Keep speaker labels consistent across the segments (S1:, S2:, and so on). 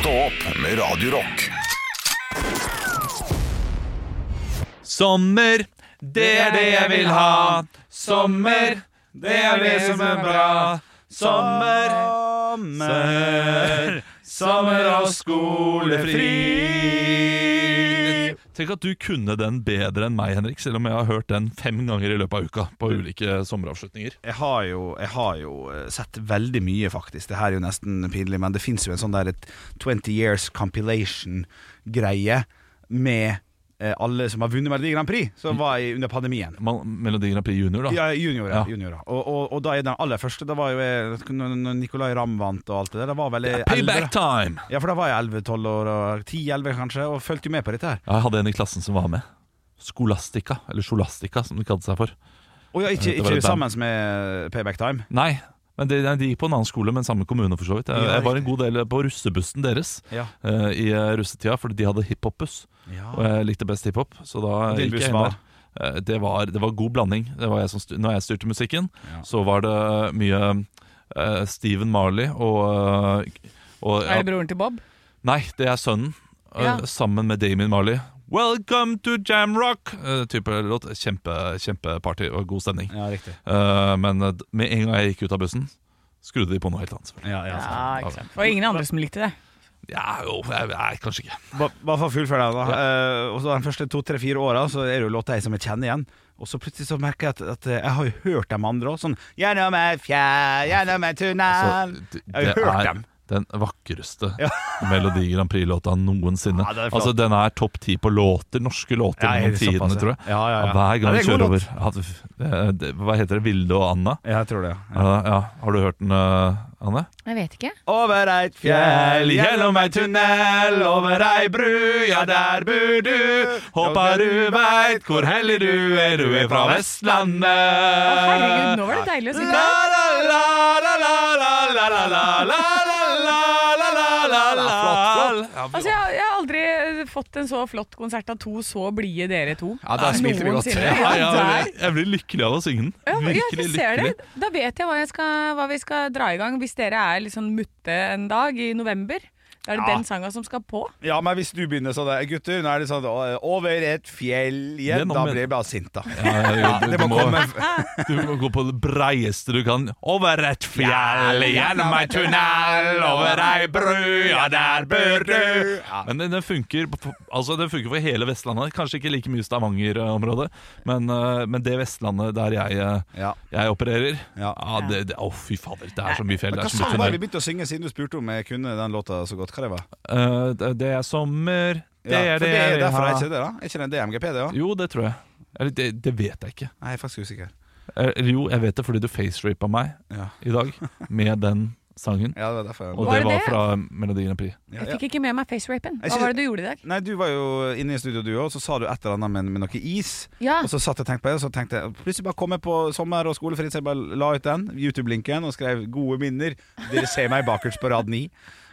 S1: Stå opp med Radio Rock.
S2: Sommer, det er det jeg vil ha. Sommer, det er det som er bra. Sommer, sommer, sommer og skolefri. Tenk at du kunne den bedre enn meg, Henrik, selv om jeg har hørt den fem ganger i løpet av uka på ulike sommeravslutninger.
S3: jeg har, jo, jeg har jo eh, sett veldig mye, faktisk. Det her er jo nesten pinlig, men det fins jo en sånn der et 20 years compilation-greie med eh, alle som har vunnet Melodi Grand Prix, som
S2: Mm.
S3: var i, under pandemien.
S2: Mal- Melodi Grand Prix Junior, da.
S3: Ja, juniorer.
S2: Ja.
S3: juniorer. Og, og, og da er den aller første. Da var jo jeg, når når Nicolay Ramm vant og alt det der, da var vel jeg 11.
S2: Payback time!
S3: Ja, for da var jeg 11-12 år, og 10-11 kanskje, og fulgte jo med på dette her.
S2: Ja, Jeg hadde en i klassen som var med. Skolastika, eller Sjolastika, som de kalte seg for.
S3: Og ja, ikke,
S2: Det var
S3: ikke
S2: et band.
S3: sammen med eh, Payback Time.
S2: Nei, men de, de gikk på en annen skole, men samme kommune for så vidt. Jeg,
S3: Ja,
S2: jeg var en
S3: riktig.
S2: god del på russebussen deres
S3: Ja.
S2: eh, i eh, russetida, fordi de hadde hiphop-buss. Og jeg likte best hiphop, så da
S3: Og din
S2: gikk
S3: buss
S2: jeg inn
S3: var?
S2: der. Eh, Det var, det var god blanding. Det var jeg som styr, når jeg styrte musikken, så var det mye eh, Stephen Marley og, eh, og ja,
S4: Er det broren til Bob?
S2: Nei, det er sønnen. eh,
S4: Ja.
S2: Sammen med Damien Marley. Welcome to Jamrock! eh, Type låt. Kjempe, Kjempeparty og god stemning.
S3: Ja, riktig.
S2: Eh, men eh, med en gang jeg gikk ut av bussen, skrudde de på noe helt annet. selvfølgelig.
S3: Ja, ja, sant.
S4: Ja, ikke sant. Det var ingen andre som likte det.
S2: Ja, jo, jeg, nei, kanskje ikke.
S3: Ba- Bare for å fullføre den, da. Eh, og så de første to-tre-fire åra så er det jo låter jeg som jeg kjenner igjen. Og så plutselig så merker jeg at, at eh, jeg har jo hørt dem andre òg. Sånn Gjennom ei fjær, gjennom ei tunnel
S2: Altså, d-
S3: Eh, Jeg har jo
S2: det
S3: hørt
S2: er
S3: dem.
S2: Den vakreste Melodi Grand Prix-låta noensinne.
S3: Ja, den er flott.
S2: altså, Den er topp ti på låter, norske låter
S3: Ja,
S2: gjennom
S3: er det
S2: tidene,
S3: såpass, ja?
S2: tror jeg.
S3: Ja, ja, ja.
S2: Hver
S3: Ja,
S2: gang vi
S3: det er en
S2: kjører
S3: god
S2: over ja, det- det- Hva heter det? Vilde og Anna?
S3: Ja, jeg tror det. ja.
S2: Ja. ja, Har du hørt den, eh, Anne?
S4: Jeg vet ikke.
S3: Over eit fjell, gjennom ei tunnel, over ei bru, ja, der bor du. Håper du veit hvor hellig du er, du er fra
S4: Å, herregud,
S3: Vestlandet.
S4: nå var det deilig å
S3: La,
S4: synge.
S3: la, la, la, la, la, la, la, la, la, la, la, la, la, la.
S4: Altså, jeg, jeg har aldri fått en så flott konsert av to så blide dere to.
S5: Ja, der smilte vi godt.
S4: Noensinne.
S2: Ja,
S4: Ja,
S2: jeg,
S4: der.
S2: jeg blir lykkelig av å synge den.
S4: Ja, ja,
S2: Virkelig
S4: jeg ser
S2: lykkelig.
S4: det. Da vet jeg hva, jeg skal, hva vi skal dra i gang hvis dere er litt sånn mutte en dag i november. Da er det
S3: Ja.
S4: den sanga som skal på.
S3: Ja, men hvis du begynner sånn, der, gutter, nå er det sånn «Å, Over et fjell igjen,
S2: Gjennom
S3: da
S2: et-
S3: blir jeg bare sint, da.
S2: Ja, ja, ja,
S3: det
S2: du
S3: må komme
S2: Du må gå på det breieste du kan. Over et fjell, gjennom ei tunnel, over ei bru, ja, der bør du Men den, den, funker, på- på- altså, den funker for hele Vestlandet. Kanskje ikke like mye Stavanger-området, men, eh, men det Vestlandet der jeg, eh,
S3: Ja.
S2: jeg opererer ja.
S3: Ja.
S2: det, det, Å, fy fader, det er så mye fjell. Det
S3: Hva
S2: er så mye
S3: sang var det vi
S2: tunnel.
S3: begynte å synge siden du spurte om jeg kunne den låta så godt? Hva det var?
S2: Eh, det- det er sommer, det
S3: Ja,
S2: er
S3: for
S2: det
S3: det
S2: jeg
S3: er
S2: vil
S3: derfor er
S2: ha.
S3: ikke det, da? Er ikke den DMGP, det òg?
S2: Jo, det tror jeg. Eller det, det vet jeg ikke.
S3: Nei, jeg er faktisk usikker.
S2: Eller Eh, jo, jeg vet det fordi du facerapa meg
S3: Ja.
S2: i dag med den sangen.
S3: Ja, det var derfor.
S2: Og
S3: jeg-
S4: Var
S2: det
S4: det
S2: var
S4: det?
S2: fra Melodi Grand Prix.
S3: Ja,
S4: Jeg
S3: ja.
S4: fikk ikke med meg
S3: Jeg
S4: face-rapen. Hva
S3: synes-
S4: var det du gjorde i dag?
S3: Nei, du var jo inne i studio, du òg, så sa du et eller annet med, med noe is.
S4: Ja,
S3: Og så satt jeg og tenkte på det, og så tenkte jeg plutselig bare kom jeg på sommer og skolefritt, så jeg bare la ut den, YouTube-linken, og skrev 'Gode minner'. Dere ser meg bakerst på rad ni.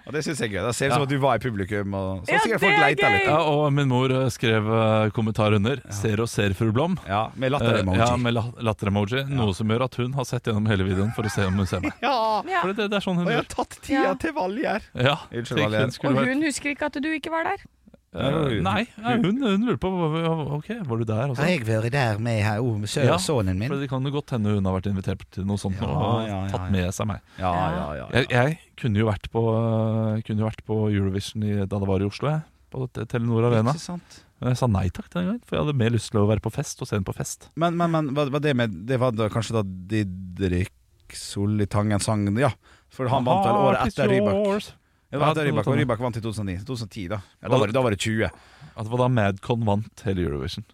S3: Og det syns jeg er gøy. Da ser det ut som
S2: Ja.
S3: at du var i publikum, og så
S4: Ja,
S3: har sikkert
S4: det
S3: folk
S4: er
S3: leita
S4: gøy!
S3: litt.
S2: Ja, og min mor eh, skrev eh, kommentar under. Ser og ser, fru Blom.
S3: Ja, med
S2: Eh,
S3: latter-emoji.
S2: Ja, med la- latter-emoji. Noe som gjør at hun har sett gjennom hele videoen for å se om hun ser meg.
S4: ja.
S2: For det, det er sånn hun
S3: Og jeg
S2: gjør.
S3: har tatt tida
S4: Ja.
S3: til Valgjerd.
S2: Ja,
S3: Unnskyld,
S2: slik
S3: Valgerd.
S2: hun skulle
S4: Og
S2: vært.
S4: hun husker ikke at du ikke var der.
S2: Eh, Nei, ja, hun, hun lurer på hva- Ok, var du der? Også?
S3: jeg vært der med her, oh, med sø-
S2: Ja.
S3: sønnen
S2: For det kan jo godt hende hun har vært invitert til noe sånt
S3: Ja,
S2: og
S3: ja, ja, ja.
S2: tatt med seg meg.
S3: Ja, ja, ja.
S2: Jeg, jeg kunne jo vært på, kunne jo vært på Eurovision i, da det var i Oslo, jeg. På Te- Telenor Arena.
S3: Ikke sant?
S2: Men jeg sa nei takk den gangen, for jeg hadde mer lyst til å være på fest og se den på fest.
S3: Men, men, men var, var det, med, det var da, kanskje da Didrik Solli Tangen sang Ja, for han vant vel året
S2: Heart is
S3: etter Rybak.
S2: yours.
S3: Ja, det var etter
S2: Ja,
S3: Rybak,
S2: det var
S3: og
S2: det.
S3: Rybak vant i 2009. 2010, da. Ja, da, var, det- da var det 20.
S2: At det var da Madcon vant hele Eurovision.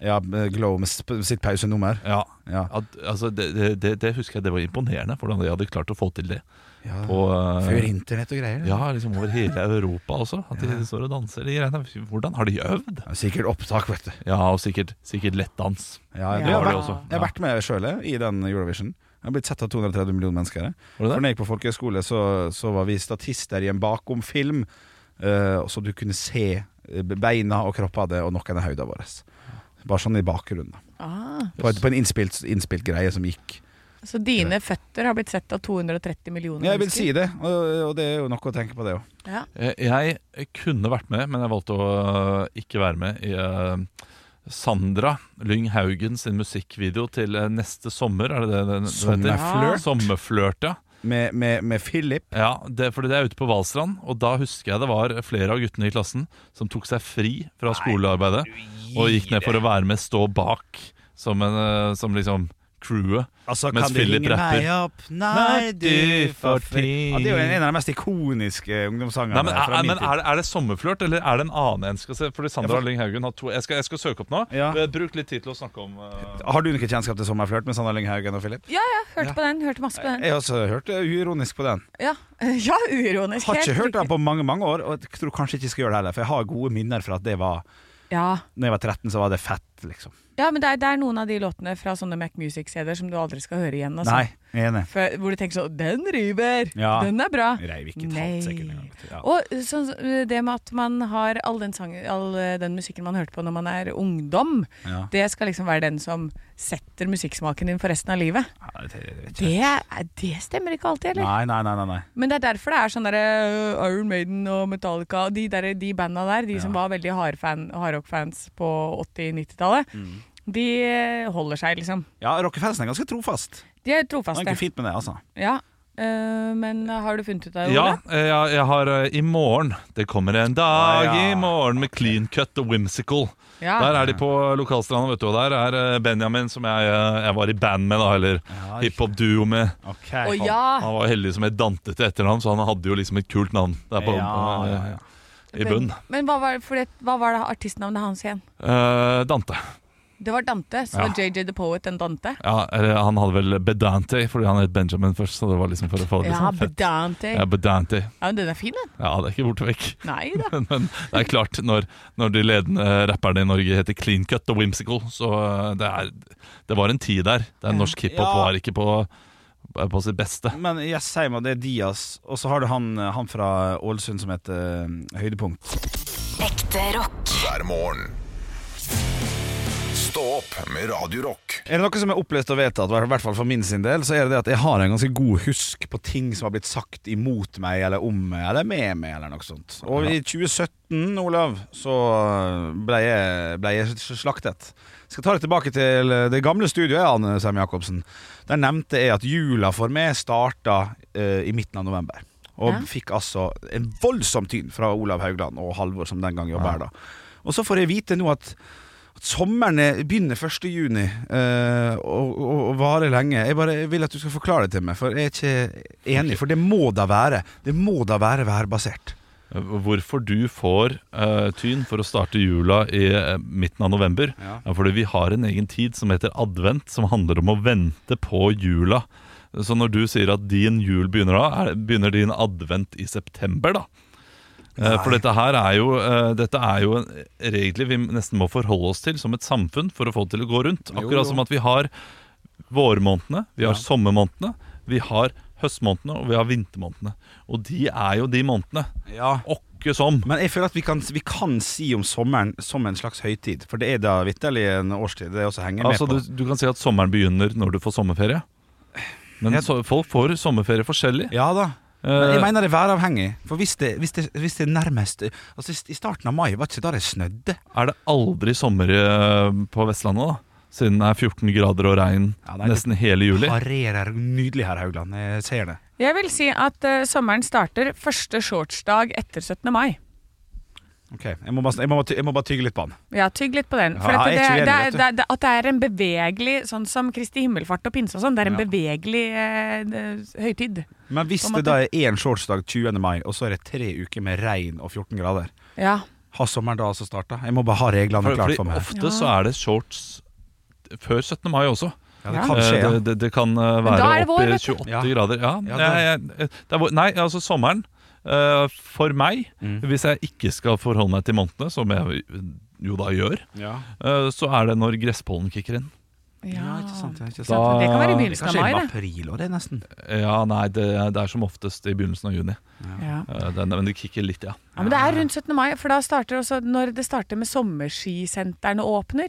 S3: Ja, eh, Glow med sp- sitt pausenummer.
S2: Ja.
S3: Ja.
S2: At, altså, det, det- det, det husker jeg det var imponerende, hvordan de hadde klart å få til det.
S3: Ja.
S2: På, eh,
S3: Før internett og greier.
S2: ja, liksom over hele Europa også. At de står og danser. De greiene. Hvordan har de øvd?
S3: Ja, Sikkert opptak, vet du.
S2: Ja, og sikkert, sikkert lettdans.
S3: Ja,
S4: Ja.
S3: jeg, har
S2: Det har de
S3: vært,
S2: også.
S3: jeg har vært med sjøl i den Eurovision. Jeg har blitt sett av 230 millioner mennesker. jeg.
S2: Var det
S3: For når
S2: det?
S3: jeg gikk på folkehøyskole, så, så var vi statister i en bakom-film, eh, så du kunne se eh, beina og kroppene og noen av hodene våre. Bare sånn i bakgrunnen. da.
S4: Ah,
S3: På, et- på en innspilt, innspilt greie som gikk.
S4: så dine føtter har blitt sett av 230 millioner
S3: Ja, jeg vil si det, og, og det er jo noe å tenke på, det òg.
S4: Ja.
S2: Eh, Jeg kunne vært med, men jeg valgte å øh, ikke være med i øh, Sandra Lyng Haugen sin musikkvideo til øh, neste sommer. Er det det den den heter?
S3: Sommerflørt.
S2: Sommerflørt, ja.
S3: Med, med, med Philip.
S2: ja det, fordi det er ute på Valstrand, og da husker jeg det var flere av guttene i klassen som tok seg fri fra skolearbeidet og gikk ned for å være med, stå bak som, en, øh, som liksom crewet.
S3: Altså,
S2: Mens
S3: kan du
S2: Philip
S3: ringe
S2: rapper.
S3: meg opp? Nei, du får fri. Ja, det er jo en av de mest ikoniske ungdomssangene
S2: Nei, men,
S3: fra
S2: er,
S3: min
S2: men
S3: tid.
S2: er, det- er det sommerflørt, eller er det en annen en skal se? Fordi Sandra
S3: Ja, for-
S2: Lyng Haugen har to jeg skal, jeg skal søke opp nå.
S3: Ja.
S2: Eh, Bruk litt tid til å snakke om eh,
S3: Har du noe kjennskap til sommerflørt med Sandra Lynghaugen og Philip?
S4: Ja, ja, hørte på den. Hørte masse på den.
S3: Jeg har også hørt det uironisk på den.
S4: Ja, ja uironisk.
S3: Har ikke
S4: helt
S3: hørt den
S4: riktig.
S3: på mange mange år, og jeg tror kanskje ikke jeg skal gjøre det heller. For jeg har gode minner fra at det var
S4: Ja.
S3: Når jeg var 13, så var det fett, liksom.
S4: ja, men det er, det er noen av de låtene fra sånne Mac Music-CD-er som du aldri skal høre igjen. Altså.
S3: Nei, jeg er enig.
S4: For, hvor du tenker sånn Den river!
S3: Ja.
S4: Den er bra!
S3: Reiv ikke
S4: Nei.
S3: tatt sekund engang. vet du. Ja.
S4: Og sånn, det med at man har all den, sang, all eh, den musikken man hørte på når man er ungdom,
S3: Ja.
S4: det skal liksom være den som setter musikksmaken din for resten av livet.
S3: Ja, det, det, vet jeg
S4: Det, er- det stemmer ikke alltid,
S3: ikke.
S4: eller?
S3: Nei, nei, nei, nei, nei.
S4: Men det er derfor det er sånn derre øh, Iron Maiden og Metallica og de, der, de banda der, de som var veldig hardfan, hardrock-fans på 80-90-tallet,
S2: Mm.
S4: de øh, holder seg, liksom.
S3: Ja, rockefansen er ganske trofast.
S4: De er
S3: Det er
S4: trofaste.
S3: ikke fint med det, altså.
S4: Ja. Øh, men har du funnet ut av det?
S2: Ja,
S4: Ole?
S2: eh, jeg, jeg har eh, I morgen. Det kommer en dag
S3: Ah, ja.
S2: i morgen med clean cut og whimsical.
S4: Ja.
S2: Der er de på lokalstranda, vet du. Og der er eh, Benjamin, som jeg, eh, jeg var i band med, da. Eller
S3: Ja,
S2: hiphop-duo med.
S3: Ok.
S4: Å ja!
S2: Han var heldig som het Dante til etternavn, så han hadde jo liksom et kult navn der på, eh,
S3: Ja, ja, ja.
S2: i bunnen.
S4: Men, men hva, var, for det, hva var det artistnavnet hans igjen?
S2: Eh, Dante.
S4: Det var Dante. Så
S2: Ja.
S4: var JJ The Poet en Dante.
S2: Ja, eller han hadde vel Bedante fordi han het Benjamin først, så det var liksom for å få det
S4: Ja,
S2: liksom fett.
S4: Dante.
S2: Ja, Bedante.
S4: Ja, men den er fin, den.
S2: Ja, det er ikke borte vekk.
S4: Nei da.
S2: Men, men det er klart, når, når de ledende rapperne i Norge heter Clean Cut og Whimsical, så eh, det er Det var en tid der der norsk hiphop
S3: Ja.
S2: var ikke på, på sitt beste.
S3: Men jeg sier meg det er Diaz, og så har du han, eh, han fra Ålesund som heter eh, Høydepunkt.
S6: Ekte rock.
S1: hver morgen. Stå opp med Radio Rock.
S3: Er det noe som er opplest og vedtatt, i hvert fall for min sin del, så er det det at jeg har en ganske god husk på ting som har blitt sagt imot meg, eller om meg, eller med meg, eller noe sånt. Og i 2017, Olav, så eh, ble jeg, ble jeg slaktet. Skal ta deg tilbake til eh, det gamle studioet, Anne Sem Jacobsen. Der nevnte jeg at jula for meg starta eh, i midten av november. Og
S4: Ja.
S3: fikk altså en voldsom tyn fra Olav Haugland og Halvor, som den gang jobba her, da. Og så får jeg vite nå at at sommeren er- begynner 1. juni eh, og, og, og varer lenge. Jeg bare vil at du skal forklare det til meg, for jeg er ikke enig. For det må da være Det må da være værbasert.
S2: Hvorfor du får eh, tyn for å starte jula i eh, midten av november,
S3: Ja.
S2: er fordi vi har en egen tid som heter advent, som handler om å vente på jula. Så når du sier at din jul begynner da, er, begynner din advent i september, da. Eh, For dette her er jo, eh, dette er jo en regler vi nesten må forholde oss til som et samfunn for å få det til å gå rundt.
S3: Jo,
S2: Akkurat
S3: jo.
S2: som at vi har vårmånedene, vi har sommermånedene, vi har høstmånedene og vi har vintermånedene. Og de er jo de månedene. Åkke som.
S3: Men jeg føler at vi kan, vi kan si om sommeren som en slags høytid. For det er da vitterlig en årstid. Det er også henger
S2: Altså,
S3: med
S2: du,
S3: på.
S2: du kan si at sommeren begynner når du får sommerferie. Men
S3: Jeg-
S2: så, folk får sommerferie forskjellig.
S3: Ja da. Men
S2: Eh,
S3: jeg mener det er væravhengig. For hvis det, hvis det, hvis det er nærmest Altså I starten av mai var det ikke da det snødde.
S2: Er det aldri sommer eh, på Vestlandet, da? Siden det er 14 grader og regn
S3: Ja, det er
S2: nesten hele juli.
S3: Parerer nydelig her, Haugland. Jeg ser det.
S4: Jeg vil si at eh, sommeren starter første shortsdag etter 17. mai.
S3: Ok, Jeg må bare, jeg må bare, ty- jeg må bare tygge litt på den.
S4: Ja, tygg litt på den. For
S3: Ja,
S4: at,
S3: jeg
S4: det,
S3: er ikke
S4: det,
S3: uenig,
S4: er- det,
S3: vet
S4: det, at det er en bevegelig, sånn som Kristi himmelfart og pinse og sånn, det er en bevegelig eh, det- høytid.
S3: Men hvis
S4: På en
S3: det da er én shortsdag 20. mai, og så er det tre uker med regn og 14 grader,
S4: Ja.
S3: Ha sommeren da altså starta. Jeg må bare ha reglene
S2: For,
S3: klart
S2: fordi
S3: for meg.
S2: ofte så er det shorts før 17. mai også.
S3: Ja, det
S4: Ja.
S3: kan
S2: Eh,
S3: skje, ja.
S2: det, det, det kan eh, være
S4: da er det vår,
S2: opp i
S4: vet du.
S2: 28
S3: Ja.
S2: grader. Ja,
S3: Ja,
S2: jeg, jeg, det er, vår- nei, altså sommeren eh, for meg,
S3: Mm.
S2: hvis jeg ikke skal forholde meg til månedene, som jeg jo da gjør, eh, så er det når gresspollen kicker inn.
S3: Ja, ikke sant. Ja, ikke sant.
S2: Da-
S4: Det kan være i
S3: det
S4: begynnelsen
S3: kan
S4: av
S3: skje
S4: mai,
S3: i
S4: det.
S3: april òg, det, nesten.
S2: Ja, nei, det, det er som oftest i begynnelsen av juni.
S4: Ja.
S2: Eh, den, men det kicker litt, ja.
S4: Ja, men det er rundt 17. mai, for da starter også når det starter med sommerskisentrene åpner.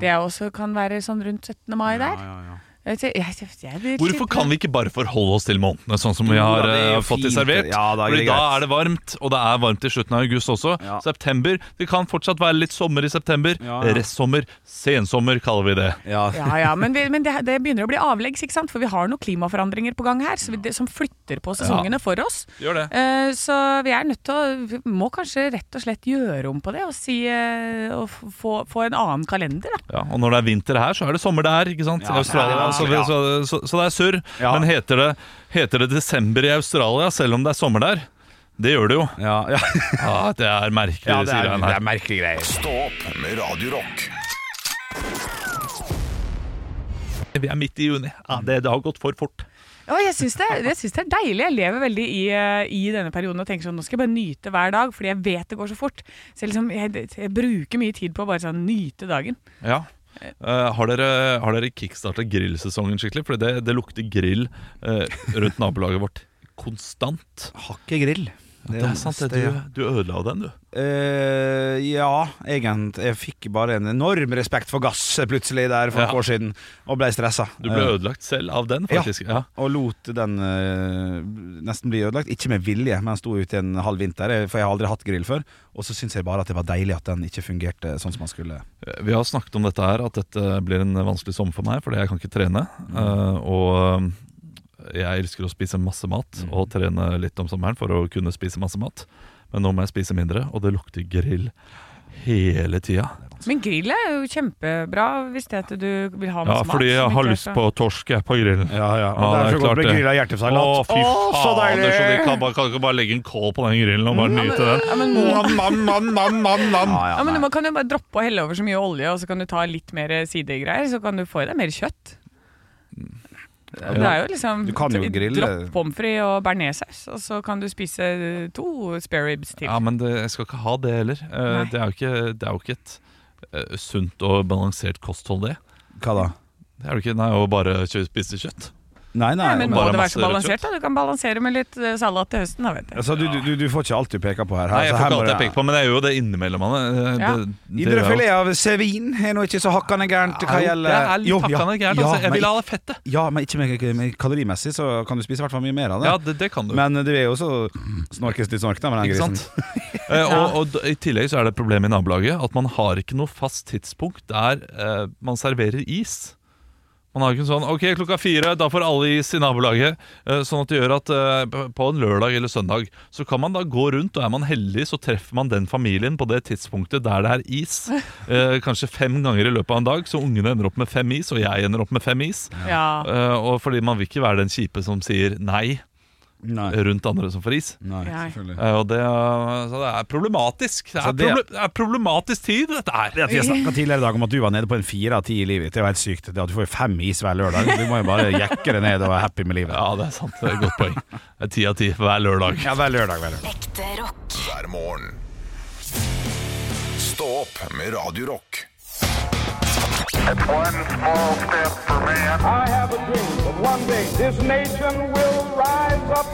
S4: Det er også kan være sånn rundt 17. mai der.
S3: ja, ja.
S4: Jeg, jeg, jeg, jeg blir
S2: Hvorfor
S4: litt-
S2: kan vi ikke bare forholde oss til månedene, sånn som vi
S3: Jo,
S2: har
S3: da, det er
S2: eh,
S3: jo
S2: fått det
S3: fint.
S2: servert?
S3: Ja, da er
S2: Fordi
S3: det
S2: da
S3: greit.
S2: er det varmt, og det er varmt i slutten av august også.
S3: Ja.
S2: September. Det kan fortsatt være litt sommer i september.
S3: Ja, ja.
S2: Restsommer. Sensommer kaller vi det.
S4: Ja, ja, men, vi, men det, det begynner å bli avleggs, ikke sant? For vi har noen klimaforandringer på gang her så vi, det, som flytter på sesongene for oss.
S2: Gjør det.
S4: Eh, så vi er nødt til å Vi må kanskje rett og slett gjøre om på det og, si, eh, og f- få, få en annen kalender, da.
S2: Ja, og når det er vinter her, så er det sommer der, ikke sant?
S3: Ja,
S2: I Australia,
S3: ja, ja,
S2: så,
S3: ja.
S2: så, så, så det er surr.
S3: altså. Ja.
S2: Men heter det, heter det desember i Australia, selv om det er sommer der? Det gjør det jo.
S3: Ja, ja.
S2: Ja, det er merkelig,
S3: ja det,
S2: sier
S3: er,
S2: han
S3: det
S2: her.
S3: er merkelige greier.
S1: Stå opp med Radio Rock.
S2: Vi er midt i juni. Ja, det, det har gått for fort.
S4: Ja, jeg syns det, jeg synes det er deilig. Jeg lever veldig i, eh, i denne perioden og tenker sånn Nå skal jeg bare nyte hver dag, fordi jeg vet det går så fort. Så jeg, liksom, jeg, jeg bruker mye tid på å bare sånn nyte dagen.
S2: Ja. Eh, har dere, har dere kickstarta grillsesongen skikkelig? For det, det lukter grill eh, rundt nabolaget vårt konstant.
S3: Hakke grill.
S2: Det er sant, det. Du, du ødela den, du.
S3: Eh, ja, egentlig. Jeg fikk bare en enorm respekt for gass plutselig der for
S2: Ja.
S3: et år siden, og ble stressa.
S2: Du ble ødelagt selv av den,
S3: Ja.
S2: faktisk. Ja.
S3: Og lot den eh, nesten bli ødelagt. Ikke med vilje, men den sto ute i en halv vinter, eh, for jeg har aldri hatt grill før. Og så syns jeg bare at det var deilig at den ikke fungerte sånn som man skulle.
S2: Eh, Vi har snakket om dette her, at dette blir en vanskelig sommer for meg, fordi jeg kan ikke trene. Eh, og eh, jeg elsker å spise masse mat, og trene litt om sommeren for å kunne spise masse mat. Men nå må jeg spise mindre, og det lukter grill hele tida.
S4: Men grill er jo kjempebra hvis det er at du vil ha
S2: Ja,
S4: masse mat.
S2: fordi jeg
S4: som
S2: har
S4: ikke er
S2: lyst
S4: så-
S2: på torsk jeg, på grillen.
S3: Ja, ja.
S2: Ja,
S3: Og
S2: det er
S3: derfor
S2: klart
S3: går det
S2: det.
S3: grilla hjertesalat.
S2: Å, fy faen! Det er så digg. Kan, bare- kan ikke bare legge en kål på den grillen og bare nyte den.
S4: Ja, men, ja,
S3: Ja, ja,
S4: men
S3: nei.
S4: du må- kan jo bare droppe å helle over så mye olje, og så kan du ta litt mer eh, sidegreier, så kan du få i deg mer kjøtt. Det er jo liksom
S3: Mm. Du kan jo grille.
S4: Dropp pommes frites og bearnéssaus, og så kan du spise eh, to spareribs til.
S2: Ja, men det, jeg skal ikke ha det heller. Eh,
S4: Nei.
S2: det, er jo ikke, det er jo ikke et eh, sunt og balansert kosthold, det.
S3: Hva da?
S2: Det er jo ikke nei, å bare kjø- spise kjøtt.
S3: Nei, nei.
S4: Nei, men må
S2: bare
S4: det være
S2: masse
S4: så
S2: rødt
S4: balansert? da? Du kan balansere med litt eh, salat til høsten, da, vet jeg.
S3: altså, du, du, du får ikke alt du peker på her. her,
S2: Nei, jeg
S3: så
S2: får
S3: her
S2: ikke
S3: må
S2: alt jeg
S3: det-
S2: peker på, men jeg gjør jo det innimellom. Anne. Eh,
S4: Ja.
S2: det- det gjør jeg jo.
S3: Indrefilet av sevin er nå ikke så hakkande gærent hva
S2: Jo,
S3: gjelder
S2: Det er litt
S3: Jo, ja,
S2: hakkende gærent.
S3: ja,
S2: altså, jeg
S3: men-
S2: vil ha det fettet.
S3: Ja, men ikke med, med kalorimessig så kan du spise i hvert fall mye mer av det.
S2: Ja, det, det kan du.
S3: Men du er jo så snorkes litt snork da med den
S2: Ikke
S3: grisen.
S2: sant? Eh, og, og d- I tillegg så er det et problem i nabolaget at man har ikke noe fast tidspunkt der eh, man serverer is. Man har ikke en sånn Ok, klokka fire, da får alle is i nabolaget. Eh, sånn at det gjør at eh, p- på en lørdag eller søndag så kan man da gå rundt, og er man heldig, så treffer man den familien på det tidspunktet der det er is. Eh, kanskje fem ganger i løpet av en dag, så ungene ender opp med fem is, og jeg ender opp med fem is.
S4: Ja.
S2: Eh, og fordi man vil ikke være den kjipe som sier nei
S3: Nei,
S2: rundt andre som får is.
S3: nei,
S4: Nei.
S3: selvfølgelig.
S2: Ja, Eh, Og det, er- så det er problematisk. Det er,
S3: Så det-
S2: proble det er problematisk tid, dette her.
S3: Jeg snakka tidligere i dag om at du var nede på en fire av ti i livet ditt. Det er jo helt sykt. Det at du får jo fem is hver lørdag. Du må jo bare jekke det ned og være happy med livet.
S2: Ja, det er sant. Det er et godt poeng. Det er Ti av ti hver lørdag.
S3: Ja, hver lørdag, hver lørdag.
S6: Ekte rock.
S1: hver morgen. Stå opp med Radio Rock.
S7: I have a dream that one day this nation will rise up.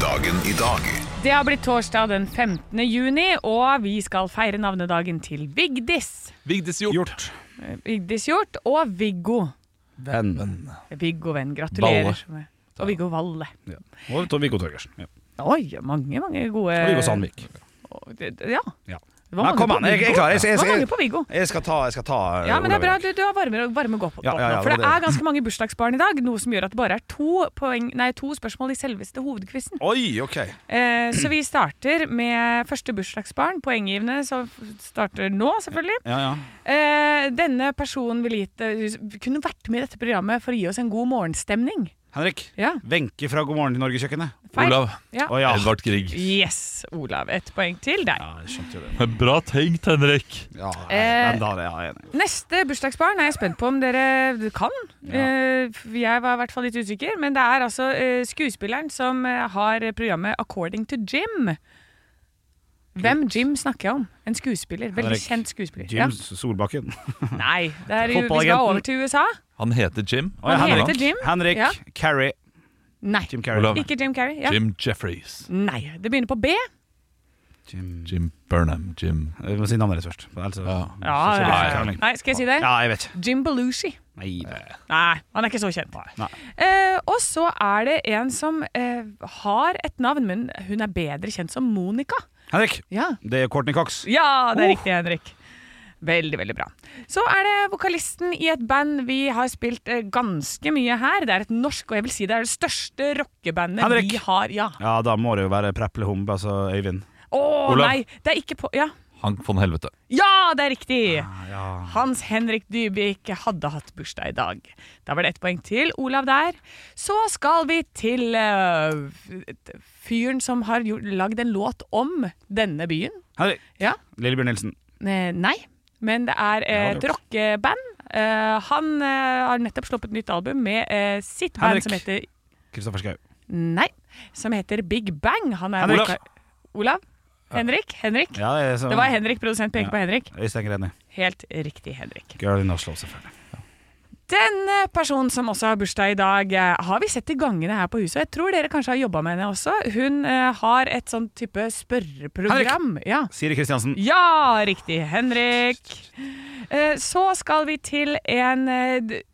S1: Dagen i dag
S4: Det har blitt torsdag den 15. juni, og vi skal feire navnedagen til Vigdis.
S2: Vigdis Hjort.
S4: Vigdis Hjort og Viggo.
S3: Venn.
S4: Viggo Venn, gratulerer.
S2: Valle.
S4: så mye. Og Viggo Valle.
S3: Og Tom Viggo Torgersen. Ja.
S4: Oi, mange, mange gode
S3: Og Viggo Sandvik.
S4: Ja.
S3: Ja.
S4: Det var
S3: Ja,
S4: mange
S3: kom
S4: på
S3: an, jeg- jeg
S4: Viggo.
S3: klarer, jeg- jeg-
S4: Det var
S3: jeg-
S4: mange på Viggo.
S3: Jeg skal ta, jeg skal ta eh,
S4: Ja, men det er bra.
S3: Olav Erik.
S4: Du, du har varmer, varme godt opp
S3: Ja, ja, ja,
S4: For
S3: det
S4: det
S3: var
S4: er
S3: det.
S4: ganske mange bursdagsbarn i dag, noe som gjør at det bare er to, poeng, nei, to spørsmål i selveste hovedquizen.
S3: Oi, ok.
S4: Eh, så vi starter med første bursdagsbarn, poenggivende, som f- starter nå, selvfølgelig.
S3: Ja, ja.
S4: Eh, denne personen ville gitt, eh, kunne vært med i dette programmet for å gi oss en god morgenstemning.
S3: Henrik.
S4: Ja.
S3: Wenche fra God morgen til Norge-kjøkkenet.
S4: Feil.
S2: Olav.
S4: Ja.
S3: Å ja.
S2: Edvard Grieg.
S4: Yes, Olav. Ett poeng til deg.
S3: Ja, jeg skjønte jo det.
S2: Bra tenkt, Henrik.
S3: Ja,
S4: Eh,
S3: den der, ja, jeg er enig.
S4: Neste bursdagsbarn er jeg spent på om dere kan. Eh, Jeg var i hvert fall litt usikker, men det er altså eh, skuespilleren som eh, har programmet According to Jim. Hvem Jim snakker jeg om? En skuespiller. Veldig
S3: Henrik,
S4: kjent skuespiller.
S3: Jim Solbakken.
S4: Ja. Nei, det er jo, vi skal
S3: Fotballagenten.
S4: over til USA.
S2: Han heter Jim.
S3: Å, ja,
S4: Han
S3: Henrik.
S4: heter Jim.
S3: Henrik
S4: Ja.
S3: Carrey.
S4: Nei,
S3: Jim Carrey.
S2: Olav.
S4: ikke Jim Carrey. Ja.
S2: Jim Jeffries.
S4: Nei, det begynner på B.
S3: Jim.
S2: Jim Burnham. Jim
S3: Vi må si navnet deres først. ellers-
S2: Ja.
S4: Ja,
S3: så- så-
S4: ja,
S3: så-
S2: ja.
S3: så-
S4: Nei, skal jeg si det?
S3: Ja, jeg vet ikke.
S4: Jim Belushi.
S3: Nei, det-
S4: Nei, han er ikke så kjent.
S3: Nei.
S4: Eh, og så er det en som eh, har et navn, men hun er bedre kjent som Monica.
S3: Henrik,
S4: Ja,
S3: det er Courtney Cox.
S4: det er riktig, Henrik. Veldig, veldig bra. Så er det vokalisten i et band vi har spilt eh, ganske mye her. Det er et norsk, og jeg vil si det er det største rockebandet
S3: Henrik.
S4: vi har. Ja.
S3: Ja, da må det jo være Preple Hump, altså Øyvind.
S4: Å
S2: Olav.
S4: nei, det er ikke på Ja,
S2: Hank von Helvete.
S4: ja det er riktig!
S3: Ah, Ja.
S4: Hans Henrik Dybvik hadde hatt bursdag i dag. Da var det ett poeng til Olav der. Så skal vi til eh, fyren som har gjort- lagd en låt om denne byen.
S3: Henrik.
S4: Ja.
S3: Lillebjørn Nilsen.
S4: Eh, Nei, men det er eh, et
S3: det er
S4: rockeband. Eh, han eh, har nettopp sluppet nytt album med eh, sitt band
S3: Henrik.
S4: som heter
S3: Kristoffer Schau.
S4: Nei, som heter Big Bang. Han er
S3: Henrik.
S4: voka- Olav? Henrik? Henrik?
S3: Ja, det, er så,
S4: Det var Henrik, produsent peker
S3: Ja.
S4: på Henrik.
S3: Øystein Greni.
S4: Helt riktig, Henrik.
S3: Girl in Oslo, selvfølgelig.
S4: Denne personen som også har bursdag i dag, eh, har vi sett i gangene her på huset. Jeg tror dere kanskje har jobba med henne også. Hun eh, har et sånn type spørreprogram. Ja.
S3: Siri Kristiansen.
S4: ja, riktig, Henrik. Eh, Så skal vi til en eh, d-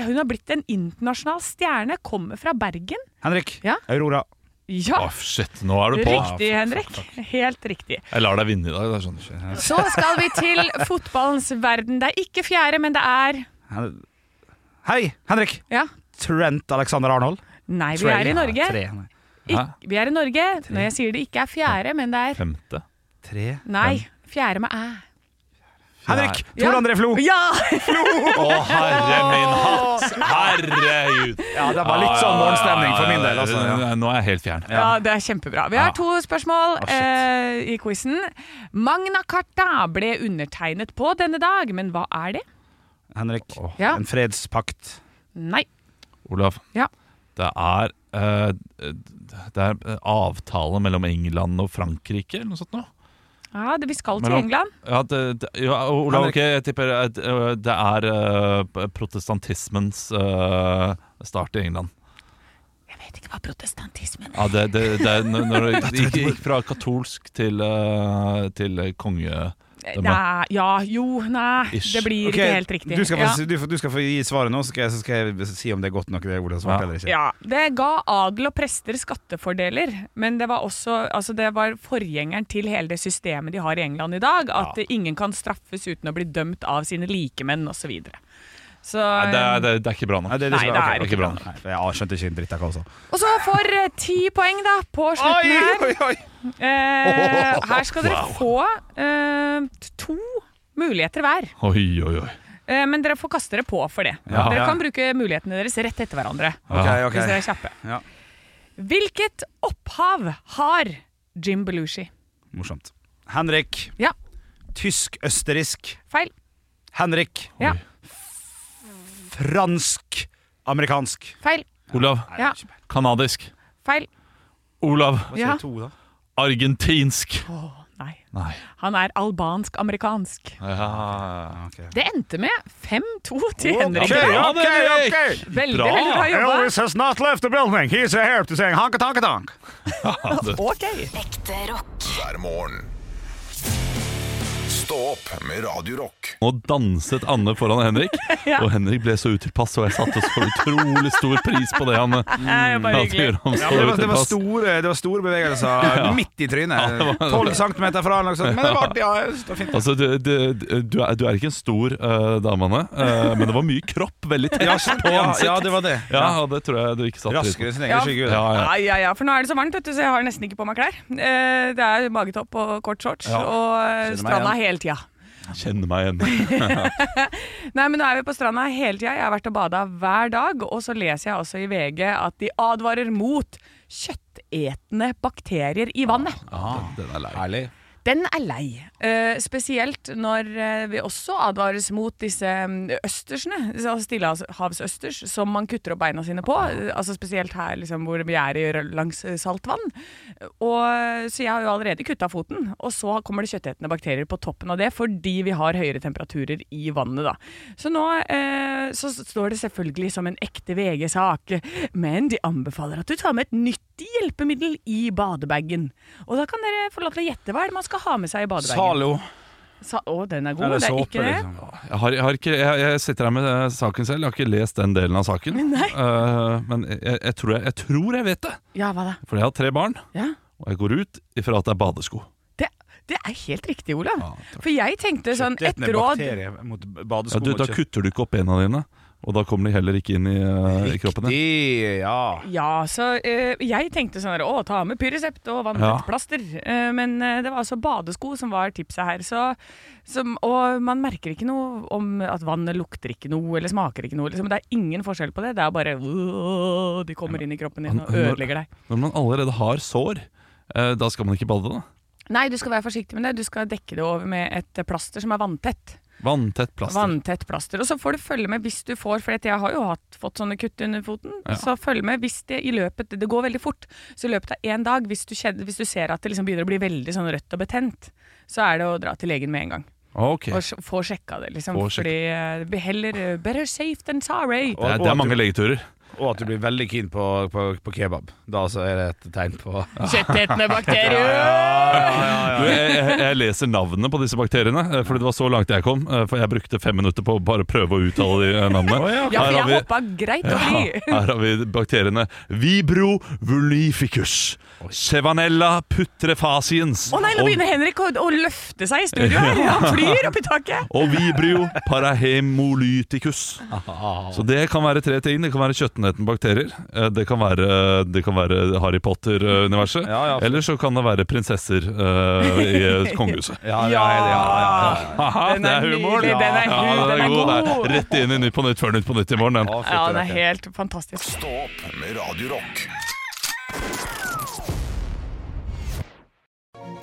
S4: Hun har blitt en internasjonal stjerne, kommer fra Bergen.
S3: Henrik.
S4: Ja.
S3: Aurora.
S4: Ja,
S2: Å, shit, nå er du på!
S4: riktig, Henrik. Helt riktig.
S2: Jeg lar deg vinne i dag. Det er sånn.
S4: Så skal vi til fotballens verden. Det er ikke fjerde, men det er
S3: Hen- Hei, Henrik.
S4: Ja.
S3: Trent Alexander Arnold.
S4: Nei, vi
S3: Trey.
S4: er i Norge.
S3: Tre, nei.
S2: Hæ?
S4: Ikk- vi er i Norge. Når jeg sier det ikke er fjerde, men det er
S2: Femte.
S3: Tre.
S4: Nei. Fjerde med æ.
S3: Henrik!
S4: Ja.
S3: Tor André Flo!
S4: Ja!
S2: Å, herre min hatt! Herregud!
S3: Ja, det var litt sånn morgenstemning for min del.
S2: Ja,
S3: Altså,
S2: ja,
S3: ja.
S2: ja. Nå er jeg helt fjern.
S4: ja, det er kjempebra. Vi har
S3: Ja.
S4: to spørsmål
S3: shit.
S4: eh, i quizen. Magna Carta ble undertegnet på denne dag, men hva er det?
S3: Henrik,
S4: Ja.
S3: en fredspakt.
S4: Nei.
S2: Olav,
S4: Ja.
S2: det er eh, Det er eh, avtale mellom England og Frankrike eller noe sånt nå
S4: Ja, det, vi skal til
S2: Mellom-
S4: England.
S2: Ja, det, det, ja Olav,
S3: Henrik.
S2: ok, jeg tipper eh, det eh, det er eh, protestantismens eh, start i England.
S4: Jeg vet ikke hva protestantismen
S2: Ja, det, det, det, er når- når det gikk, gikk fra katolsk til, eh, til konge...
S4: er. Nei, ja, jo, nei.
S2: Ish.
S4: Det blir
S3: Ok,
S4: ikke helt riktig.
S3: Du skal, få,
S4: ja.
S3: du, får- du skal få gi svaret nå, så skal jeg, så skal jeg si om det er godt nok det Ola har svart
S2: Ja.
S3: eller ikke.
S4: Ja, Det ga adel og prester skattefordeler, men det var også altså det var forgjengeren til hele det systemet de har i England i dag. At eh, ingen kan straffes uten å bli dømt av sine likemenn osv. Så, videre. så
S2: Nei, det, er- det, er- det er ikke bra
S3: Nei,
S2: nok.
S3: det,
S4: Nei, det er
S3: ok,
S2: ikke bra.
S3: Nei, for jeg skjønte ikke en dritt av hva hun sa.
S4: Og så får eh, ti poeng da på slutten her.
S3: oi!
S4: Eh, her skal dere få eh, t- to muligheter hver.
S2: Oi, oi, oi.
S4: Eh, men dere får kaste dere på for det.
S3: Ja.
S4: Dere
S3: Ja.
S4: kan bruke mulighetene deres rett etter hverandre.
S3: Ok, ok.
S4: Hvis dere er kjappe.
S3: Ja.
S4: Hvilket opphav har Jim Belushi?
S3: Morsomt. Henrik.
S4: Ja,
S3: Tysk-østerriksk.
S4: feil.
S3: Henrik.
S4: Ja,
S3: Fransk-amerikansk.
S4: feil.
S2: Olav,
S4: Ja,
S2: kanadisk.
S4: feil.
S2: Olav,
S4: Ja.
S3: To, da.
S2: argentinsk.
S4: Nei.
S2: Nei.
S4: Han er albansk-amerikansk.
S2: Ja.
S3: Ok.
S4: Det endte med 5-2 til Henrik.
S3: Ok,
S4: i dag.
S2: Ja,
S3: ok,
S2: det
S3: ok.
S4: Veldig,
S2: bra.
S4: veldig bra jobba.
S3: has not left the building. He's here to sing hanka-tanka-tank.
S4: Ok.
S6: Ekte rock.
S1: hver morgen. Stå opp med Radio Rock.
S2: Nå danset Anne foran Henrik,
S4: Ja.
S2: og Henrik ble så utilpass, og jeg satte så utrolig stor pris på det han
S4: Det er jo bare
S2: hadde
S4: hyggelig.
S2: gjort om
S3: Ja,
S2: så
S3: men det, var, det, var
S2: utilpass.
S3: store, det var store bevegelser midt i trynet. Tolv centimeter fra, eller noe sånt. Men det var artig. Ja, det var fint.
S2: Altså, du, du, du, er, du er ikke en stor uh, dame, Anne, eh, men det var mye kropp, veldig
S3: Ja,
S2: tett
S3: sant.
S2: på
S3: ja,
S2: ansikt.
S3: ja, det var det.
S2: Ja, og det tror jeg du ikke satte pris
S3: Raskere
S2: på.
S3: enn sin
S4: Ja.
S3: egen skygge.
S2: Ja, ja.
S4: Ja, ja, ja, for nå er det så varmt, vet du, så jeg har nesten ikke på meg klær. Eh, Det er magetopp og kort shorts og eh,
S3: Kjenner meg
S4: stranda hele tida.
S2: Kjenner meg igjen.
S4: Nei, men nå er vi på stranda hele tida. Jeg har vært og bada hver dag. Og så leser jeg også i VG at de advarer mot kjøttetende bakterier i vannet.
S2: Den er lei.
S5: Herlig.
S4: Den er lei. Eh, spesielt når eh, vi også advares mot disse mm, østersene, altså stillehavsøsters, som man kutter opp beina sine på. eh, Altså Spesielt her liksom, hvor vi er i, rø- langs eh, saltvann. Og, eh, så jeg har jo allerede kutta foten, og så kommer det kjøttetende bakterier på toppen av det fordi vi har høyere temperaturer i vannet, da. Så nå eh, så står det selvfølgelig som en ekte VG-sak, men de anbefaler at du tar med et nyttig hjelpemiddel i badebagen. Og da kan dere få lov til å gjette hva er det man skal ha med seg i badebagen.
S3: Zalo.
S4: Sa å, den er god.
S3: Eller
S4: det er
S3: såpe,
S4: ikke det.
S3: liksom.
S2: Jeg, har, jeg, har ikke, jeg, jeg sitter her med eh, saken selv, jeg har ikke lest den delen av saken. Eh, men jeg, jeg, tror jeg, jeg tror jeg vet det,
S4: Ja, hva da?
S2: for jeg har tre barn,
S4: Ja.
S2: og jeg går ut ifra at det er badesko.
S4: Det, det er helt riktig, Olav. For jeg tenkte sånn
S3: Kjøttetende
S4: Et råd
S3: bakterie mot
S2: Ja,
S3: badesko
S2: du, da
S3: og kjøtt.
S2: kutter du ikke opp bena dine, og da kommer de heller ikke inn i, eh, i kroppen din.
S3: Riktig, ja.
S4: Ja, så eh, jeg tenkte sånn her, å, ta med pyresept og
S2: Ja.
S4: vanntettplaster. Eh, men eh, det var altså badesko som var tipset her. Så, som, og man merker ikke noe om at vannet lukter ikke noe, eller smaker ikke noe. Liksom. Det er ingen forskjell på det. Det er bare øh, De kommer inn i kroppen din og
S2: Når-
S4: ødelegger deg.
S2: Når man allerede har sår, eh, da skal man ikke bade, da.
S4: Nei, du skal være forsiktig med det. Du skal dekke det over med et eh, plaster som er vanntett.
S2: Vanntett plaster.
S4: Vanntett plaster. Og så får du følge med hvis du får, for at jeg har jo hatt, fått sånne kutt under foten. Så følg med hvis det i løpet Det går veldig fort. Så i løpet av én dag, hvis du, kjenner, hvis du ser at det liksom begynner å bli veldig sånn rødt og betent, så er det å dra til legen med en gang.
S2: Ah, Ok.
S4: Og sj- få sjekka det, liksom.
S2: Få
S4: Fordi eh, vi heller eh, Better safe than sorry.
S2: Det er, det er mange legeturer.
S3: Og at du blir veldig keen på, på, på kebab. Da så er det et tegn på
S4: Kjøttetende bakterier!
S2: Du, jeg, jeg, jeg leser navnene på disse bakteriene, eh, fordi det var så langt jeg kom. eh, For jeg brukte fem minutter på å bare prøve å uttale de eh, navnene.
S4: Ja, for
S2: Her har
S4: jeg
S2: vi-
S4: hoppa greit
S2: Ja,
S4: over de.
S2: her har vi bakteriene Vibro vulnificus, Sevanella putrefaciens
S4: Å nei, nå
S2: og,
S4: begynner Henrik å, å løfte seg i studio her! Han flyr opp i taket!
S2: og Vibrio parahemolyticus. Så det kan være tre ting. Det kan være kjøttneten bakterier, eh, det kan være, det kan være Harry Potter-universet,
S3: Ja, ja.
S2: eller så kan det være prinsesser eh, i eh, kongehuset.
S3: Ja, ja, ja, ja, ja.
S2: Haha,
S4: Den
S2: det
S4: er
S2: er humor!
S4: nydelig, den er
S2: Ja,
S4: hu- den er
S2: det
S4: god.
S2: er Rett inn i Nytt på Nytt før Nytt på Nytt i morgen. Den.
S3: Å, fytti
S4: Ja, den er
S3: rakker.
S4: helt fantastisk.
S1: Stå opp med Radio Rock.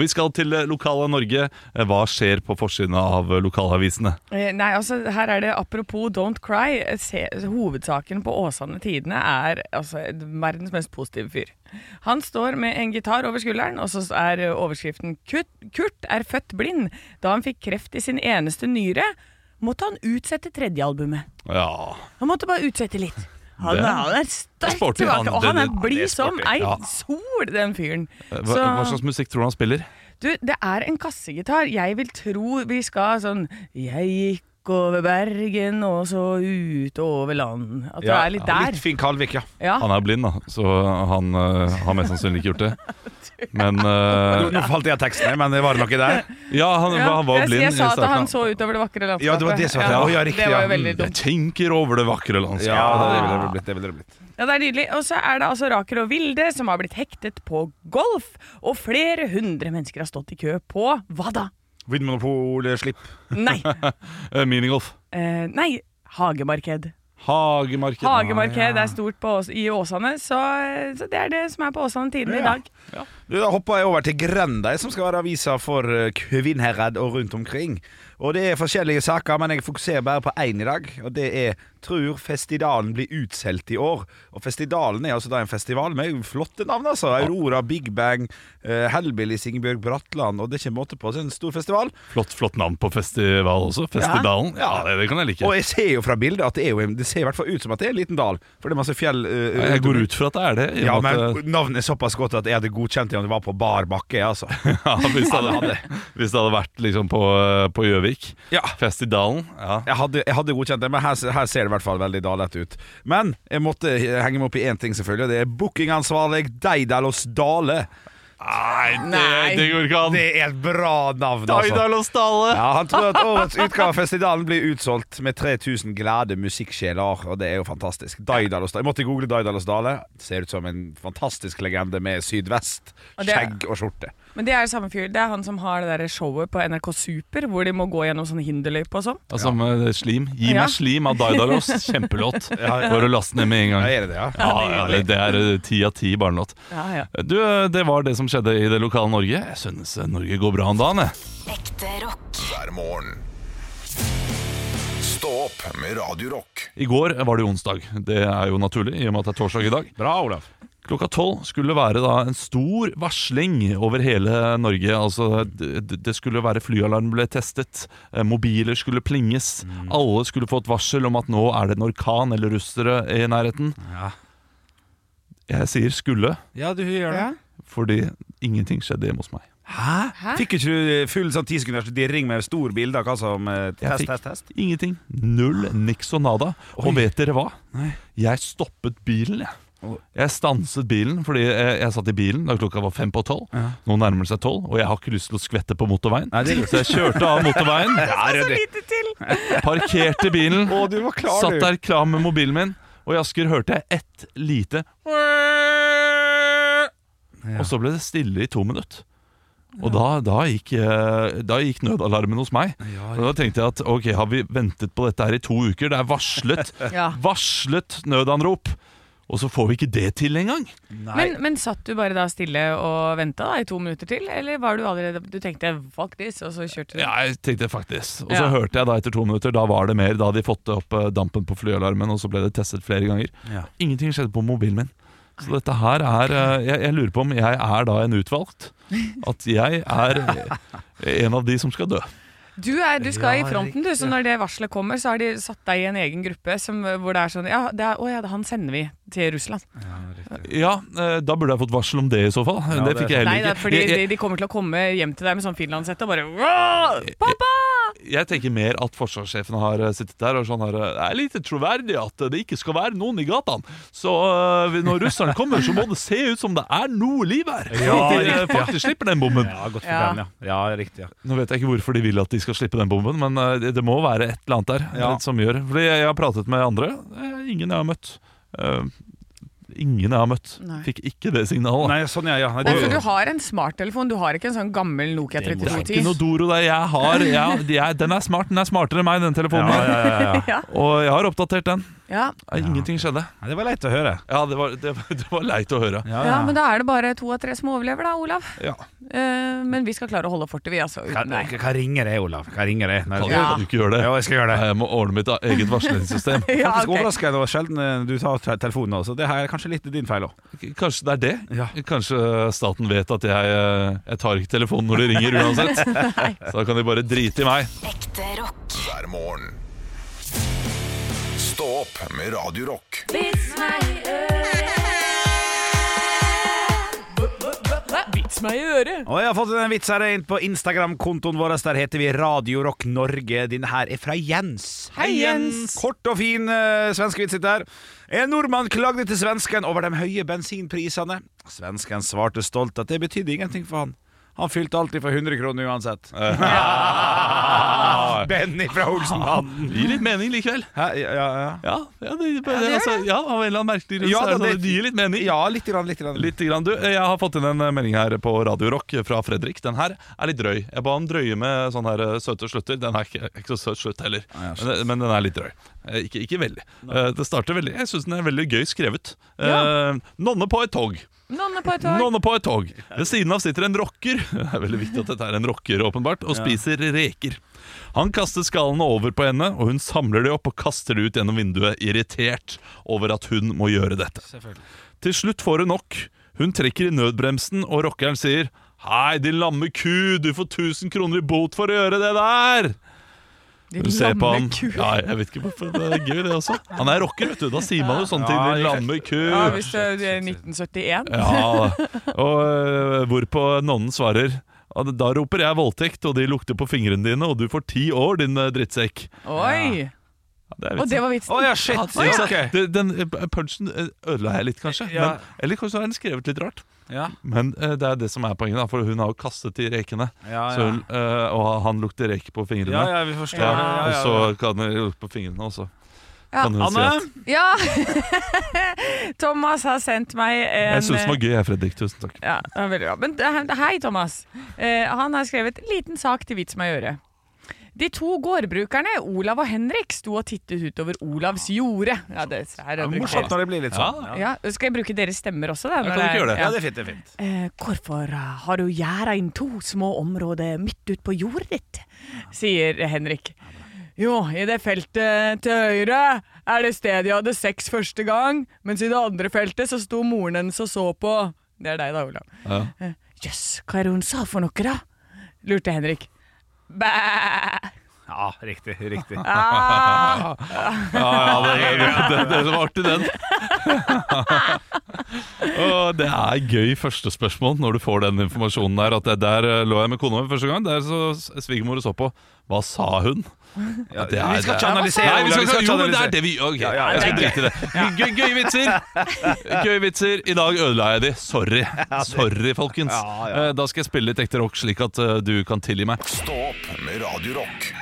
S2: Vi skal til eh, lokale Norge. Eh, Hva skjer på forsiden av eh, lokalavisene?
S4: Eh, Nei, altså her er det apropos Don't Cry. eh, Se, hovedsaken på Åsane Tidene er altså verdens mest positive fyr. Han står med en gitar over skulderen, og så er eh, overskriften Kurt, Kurt er født blind. Da han fikk kreft i sin eneste nyre, måtte han utsette tredjealbumet.
S2: Ja,
S4: Han måtte bare utsette litt. Han,
S2: Det
S4: er-
S2: er-
S4: han er sterk
S2: sporty, han.
S4: tilbake, og han
S2: Det-
S4: er
S2: det-
S4: blid
S2: det er
S4: som
S2: sporty,
S4: ei
S2: ja.
S4: sol, den fyren.
S2: Hva,
S4: Så-
S2: hva slags musikk tror du han spiller?
S4: Du, det er en kassegitar. Jeg vil tro vi skal sånn Jeg gikk over Bergen og så ut over land. At det
S3: Ja,
S4: er litt
S3: Litt
S4: der.
S3: fin Kalvik, ja.
S4: Ja.
S2: Han er blind, da, så han eh, har mest sannsynlig ikke gjort det. Men eh,
S3: Nå, nå falt jeg av teksten, her, men det var noe der.
S2: ja, han,
S4: Ja,
S2: han var
S4: jeg,
S2: blind.
S4: jeg sa
S2: i
S4: at
S2: starten.
S4: han så utover det vakre landskapet.
S3: Ja, det var det som var- Å, ja, riktig,
S4: det var jo
S3: ja.
S4: veldig
S3: Mm,
S2: Jeg
S4: dumt.
S2: tenker over det vakre landskapet.
S3: Ja, det ville det blitt. Det ville det blitt.
S4: Ja, det er nydelig. Og så er det altså Rakel og Vilde som har blitt hektet på golf. Og flere hundre mennesker har stått i kø på hva da?
S3: Vinmonopolet, slipp.
S4: Nei.
S2: Eh, Minigolf.
S4: Eh, nei. Hagemarked.
S2: Hagemarked. Ah,
S4: Hagemarked er stort på, Ås- i Åsane, så, så det er det som er på Åsane Tidende i
S3: Ja.
S4: dag.
S3: Du, Da hopper jeg over til Grenda, som skal være avisa for eh, Kvinnherad og rundt omkring. Og Det er forskjellige saker, men jeg fokuserer bare på én i dag. Og Det er 'Trur festivalen blir utsolgt i år'. Og Festivalen er altså da en festival med flotte navn. altså Aurora, Big Bang, uh, Hellbillies, Ingebjørg Bratland. Og Det er ikke måte på. Så det er en stor festival.
S2: Flott, flott navn på festival også. Festidalen. Ja, det, det kan jeg like.
S3: Og jeg ser jo fra bildet at det, er jo en, det ser i hvert fall ut som at det er en liten dal. For det er masse fjell eh,
S2: Jeg
S3: rundt
S2: går
S3: omkring.
S2: ut fra at det er det. i og
S3: Ja,
S2: med at, eh,
S3: men Navnet er såpass godt at jeg hadde godkjent til om det var på bar bakke, altså.
S2: Ja, hvis, det hadde, hvis det hadde vært liksom på på Gjøvik.
S3: Ja.
S2: Fest i Dalen. Ja.
S3: Jeg hadde, jeg hadde godkjent det, men her, her ser det i hvert fall veldig dalete ut. Men jeg måtte henge meg opp i én ting, selvfølgelig, og det er bookingansvarlig Deidalos Dale.
S2: Nei, det, det går ikke an!
S3: Det er et bra navn, altså.
S2: Daidalos Dale!
S3: Ja, Han tror at årets utgave av festivalen blir utsolgt med 3000 glade musikksjeler, og det er jo fantastisk. Daidalos Dale. Jeg måtte google Daidalos Dale. Ser ut som en fantastisk legende med sydvest,
S4: Og det-
S3: skjegg og skjorte.
S4: Men det er samme fyr. Det er han som har det der showet på NRK Super hvor de må gå gjennom sånne hinderløyper og sånn.
S2: Ja, samme slim. Gi
S4: Ja.
S2: meg slim av Daidalos. Kjempelåt. Bare å laste ned med
S3: Ja,
S2: en gang.
S3: er det det, ja?
S2: Ja, ja, det- det er eh, ti av ti barnelåt.
S4: Ja, ja.
S2: Du, eh, det var det som skjedde i det lokale Norge. Jeg synes eh, Norge går bra om dagen, jeg.
S6: Ekte rock.
S1: hver morgen. Stå opp med Radio Rock.
S2: I går var det jo onsdag. Det er jo naturlig, i og med at det er torsdag i dag.
S3: Bra, Olav.
S2: Klokka tolv skulle være da en stor varsling over hele Norge. Altså, d- d- det skulle være flyalarm ble testet, eh, mobiler skulle plinges.
S3: Mm.
S2: Alle skulle få et varsel om at nå er det en orkan eller russere i nærheten.
S3: Ja.
S2: Jeg sier skulle,
S3: Ja, du gjør det.
S2: fordi ingenting skjedde hjemme hos meg.
S3: Hæ? Fikk ikke du full sånn ti sekunders dirring med stor bilde av hva som eh,
S2: Jeg
S3: Test,
S2: fikk-
S3: test, test?
S2: Ingenting. Null, niks og nada. Og vet dere hva? Jeg stoppet bilen, jeg. Jeg stanset bilen fordi jeg, jeg satt i bilen da klokka var fem på tolv. Nå nærmer det seg tolv, og jeg har ikke lyst til å skvette på motorveien.
S3: Nei, det er
S2: Så jeg kjørte av motorveien,
S4: Lite til!
S2: parkerte bilen,
S3: Å, du var klar,
S2: satt
S3: du.
S2: der klar med mobilen min, og i Asker hørte jeg ett lite Og så ble det stille i to minutter. Og da, da, gikk, eh, da gikk nødalarmen hos meg. Og da tenkte jeg at ok, har vi ventet på dette her i to uker? Det er varslet,
S4: Ja.
S2: varslet nødanrop. Og så får vi ikke det til engang!
S4: Men, men satt du bare da stille og venta i to minutter til, eller var du allerede Du tenkte 'fuck this', og så kjørte du?
S2: Ja, jeg tenkte faktisk. Og så
S4: Ja.
S2: hørte jeg da etter to minutter, da var det mer. Da hadde de fått opp eh, dampen på flyalarmen, og så ble det testet flere ganger.
S3: Ja.
S2: Ingenting skjedde på mobilen min. Så dette her er eh, Jeg, jeg lurer på om jeg er da en utvalgt. At jeg er eh, en av de som skal dø.
S4: Du, er, du
S3: Ja,
S4: skal i fronten, du, så når det varselet kommer, så har de satt deg i en egen gruppe som, hvor det er sånn ja, det er, 'Å ja, han sender vi til Russland'.
S2: Ja, eh, da burde jeg fått varsel om det i så fall. det
S3: det
S2: fikk jeg
S4: Nei,
S2: heller
S4: det er
S2: ikke.
S4: fordi
S2: jeg,
S4: de,
S2: jeg,
S4: de kommer til å komme hjem til deg med sånn finlandshette og bare «Wow, Pappa!
S2: jeg tenker mer at forsvarssjefen har eh, sittet der og sånn her eh, Det er lite troverdig at eh, det ikke skal være noen i gatene. Så eh, når russeren kommer, så må det se ut som det er noe liv her.
S3: Ja,
S2: At de eh,
S3: riktig, ja.
S2: faktisk slipper den bomben.
S3: Ja, godt for
S4: Ja.
S3: den, ja. Ja, riktig, ja.
S2: Nå vet jeg ikke hvorfor de vil at de skal slippe den bomben, men eh, det- det må være et eller annet der
S3: Ja.
S2: eh, som gjør Fordi jeg jeg har pratet med andre. eh, Ingen jeg har møtt. Eh, Ingen jeg har møtt,
S4: Nei.
S2: fikk ikke det signalet.
S3: Nei, sånn, ja, ja. Nei,
S4: Nei, for
S3: du,
S4: du har en smarttelefon, du har ikke en sånn gammel Nokia
S2: Det er ikke noe
S4: 3210.
S2: Doro der. Jeg har, jeg, de er- den er smart, den er smartere enn meg, den telefonen.
S3: ja, ja, ja, ja.
S2: Og jeg har oppdatert den.
S4: Ja.
S2: Eh, Ingenting skjedde.
S3: Nei, Det var leit å høre.
S2: Ja, det var, det, var- det var leit å høre.
S3: Ja,
S4: ja, men da er det bare to av tre som overlever da, Olav.
S2: Ja.
S4: Eh, men vi skal klare å holde fortet, vi altså.
S3: Hva,
S4: Uten deg.
S3: hva ringer det, Olav? Hva ringer det? Nei,
S2: Kan,
S3: det-
S2: kan du ikke gjøre det?
S3: Jo, jeg skal gjøre det.
S2: Nei, Jeg må ordne mitt eget varslingssystem.
S4: Ja,
S3: Faktisk
S4: ok.
S3: overraskende og sjelden eh, du tar te- telefonen, nå, så det her er kanskje litt din feil òg.
S2: Kanskje det er det?
S3: Ja.
S2: Kanskje staten vet at jeg, eh, jeg tar ikke telefonen når de ringer uansett? Så da kan de bare drite i meg.
S6: Ekte rock.
S1: hver morgen. Stå opp med Radio Rock.
S4: Vits meg i øret!
S3: Og jeg har fått en vits her inn på Instagram-kontoen vår. Der heter vi Radio Rock Norge. Din her er fra Jens.
S4: Hei, Jens.
S3: Kort og fin uh, svensk vits sitt der. En nordmann klagde til svensken over de høye bensinprisene. Svensken svarte stolt at det betydde ingenting for han. Han fylte alltid for 100 kroner uansett. Benny fra Olsenbanden.
S2: Det gir litt mening likevel.
S3: Hæ? Ja, ja, ja.
S2: Ja, ja, det, altså, ja av en eller annen merkelig grunn.
S3: Ja,
S2: så er det,
S3: da,
S2: sånn,
S3: det-
S2: det gir litt mening.
S3: ja, litt. Grann, litt, grann.
S2: Litt grann, du, jeg har fått inn en melding her på Radio Rock fra Fredrik. Den her er litt drøy. Jeg ba han drøye med sånne her eh, søte slutter. Den er ikke, ikke så søt slutt heller, men, det- men den er litt drøy. Eh, Ikke, ikke veldig. Eh, Det starter veldig Jeg syns den er veldig gøy skrevet. Eh, Nonne på et tog.
S4: Nonne på et tog.
S2: Nonne på et tog. Ved siden av sitter en rocker. Det er veldig viktig at dette er en rocker, åpenbart, og spiser reker. Han kaster skallene over på henne, og hun samler de opp og kaster de ut gjennom vinduet, irritert over at hun må gjøre dette. Til slutt får hun nok. Hun trekker i nødbremsen, og rockeren sier Hei, din lamme ku, du får 1000 kroner i bot for å gjøre det der!
S4: De
S2: Hun ser på
S4: lamme
S2: ham.
S4: kuer.
S2: Ja, jeg vet ikke hvorfor, det er gøy, det også. Han er rocker, vet du. Da sier man jo sånne ting.
S3: Ja,
S2: Din lamme ku.
S4: Ja, hvis det er 1971.
S2: Ja, og øh, hvorpå nonnen svarer «Ja, da roper jeg voldtekt, og de lukter på fingrene dine, og du får ti år, din øh, drittsekk.
S4: Oi!
S2: Ja, det er
S4: Og
S2: vitsen.
S4: det var vitsen.
S3: Å ja, shit!
S2: Ja, ikke
S3: Ja,
S2: sant? Det- Den eh, punchen eh, ødela jeg litt, kanskje.
S3: Ja.
S2: Men, eller kanskje har den skrevet litt rart.
S3: Ja.
S2: Men eh, det er det som er poenget, da, for hun har jo kastet de rekene.
S3: Ja,
S2: Så hun, eh, og han lukter rek på fingrene.
S3: ja, ja, vi forstår.
S2: Ja,
S3: Ja, ja, ja.
S2: Og så kan det lukte på fingrene også.
S4: Ja,
S2: Kan hun si at,
S3: Anne,
S4: Ja! Thomas har sendt meg en eh,
S2: jeg syns det var gøy, jeg, Fredrik. Tusen takk.
S4: Ja, det var veldig bra. Men det- hei, Thomas. Eh, han har skrevet 'Liten sak til vits meg i øret'. De to gårdbrukerne, Olav og Henrik, sto og tittet utover Olavs jorde. Ja, det er
S3: Det er morsomt når det blir litt sånn. Ja,
S4: Ja, skal jeg bruke deres stemmer også? Da, når
S2: kan du ikke
S4: er-
S2: gjøre det?
S4: Ja.
S3: det er fint. det er fint
S4: Eh, hvorfor har du gjerda inn to små områder midt ut på jordet ditt? sier Henrik. Jo, i det feltet til høyre er det stedet jeg hadde sex første gang, mens i det andre feltet så sto moren hennes og så på. Det er deg da, Olav.
S2: Ja.
S4: Eh, Jøss, hva er det hun sa for noe da? lurte Henrik. Bæ!
S3: Ja, riktig. riktig
S2: Ja,
S4: Ah!
S2: ja, det, det, det, det var artig, den. og det er gøy første spørsmål når du får den informasjonen der. At det, der eh, lå jeg med kona mi første gang. Der så s- svigermor så på. Hva sa hun? Ja, det er-
S3: vi skal ikke
S2: det er-
S3: analysere,
S2: Nei, vi
S3: Olav,
S2: skal,
S3: vi skal ikke
S2: jo, men det
S3: analysere.
S2: er det vi Ok,
S3: Ja, ja, ja,
S2: jeg skal drite i det. Gøy, gøye vitser! Gøye vitser. I dag ødela jeg de. Sorry. Sorry, folkens.
S3: Ja, ja.
S2: Eh, Da skal jeg spille litt ekte rock, slik at eh, du kan tilgi meg.
S1: Stå opp med Radio Rock.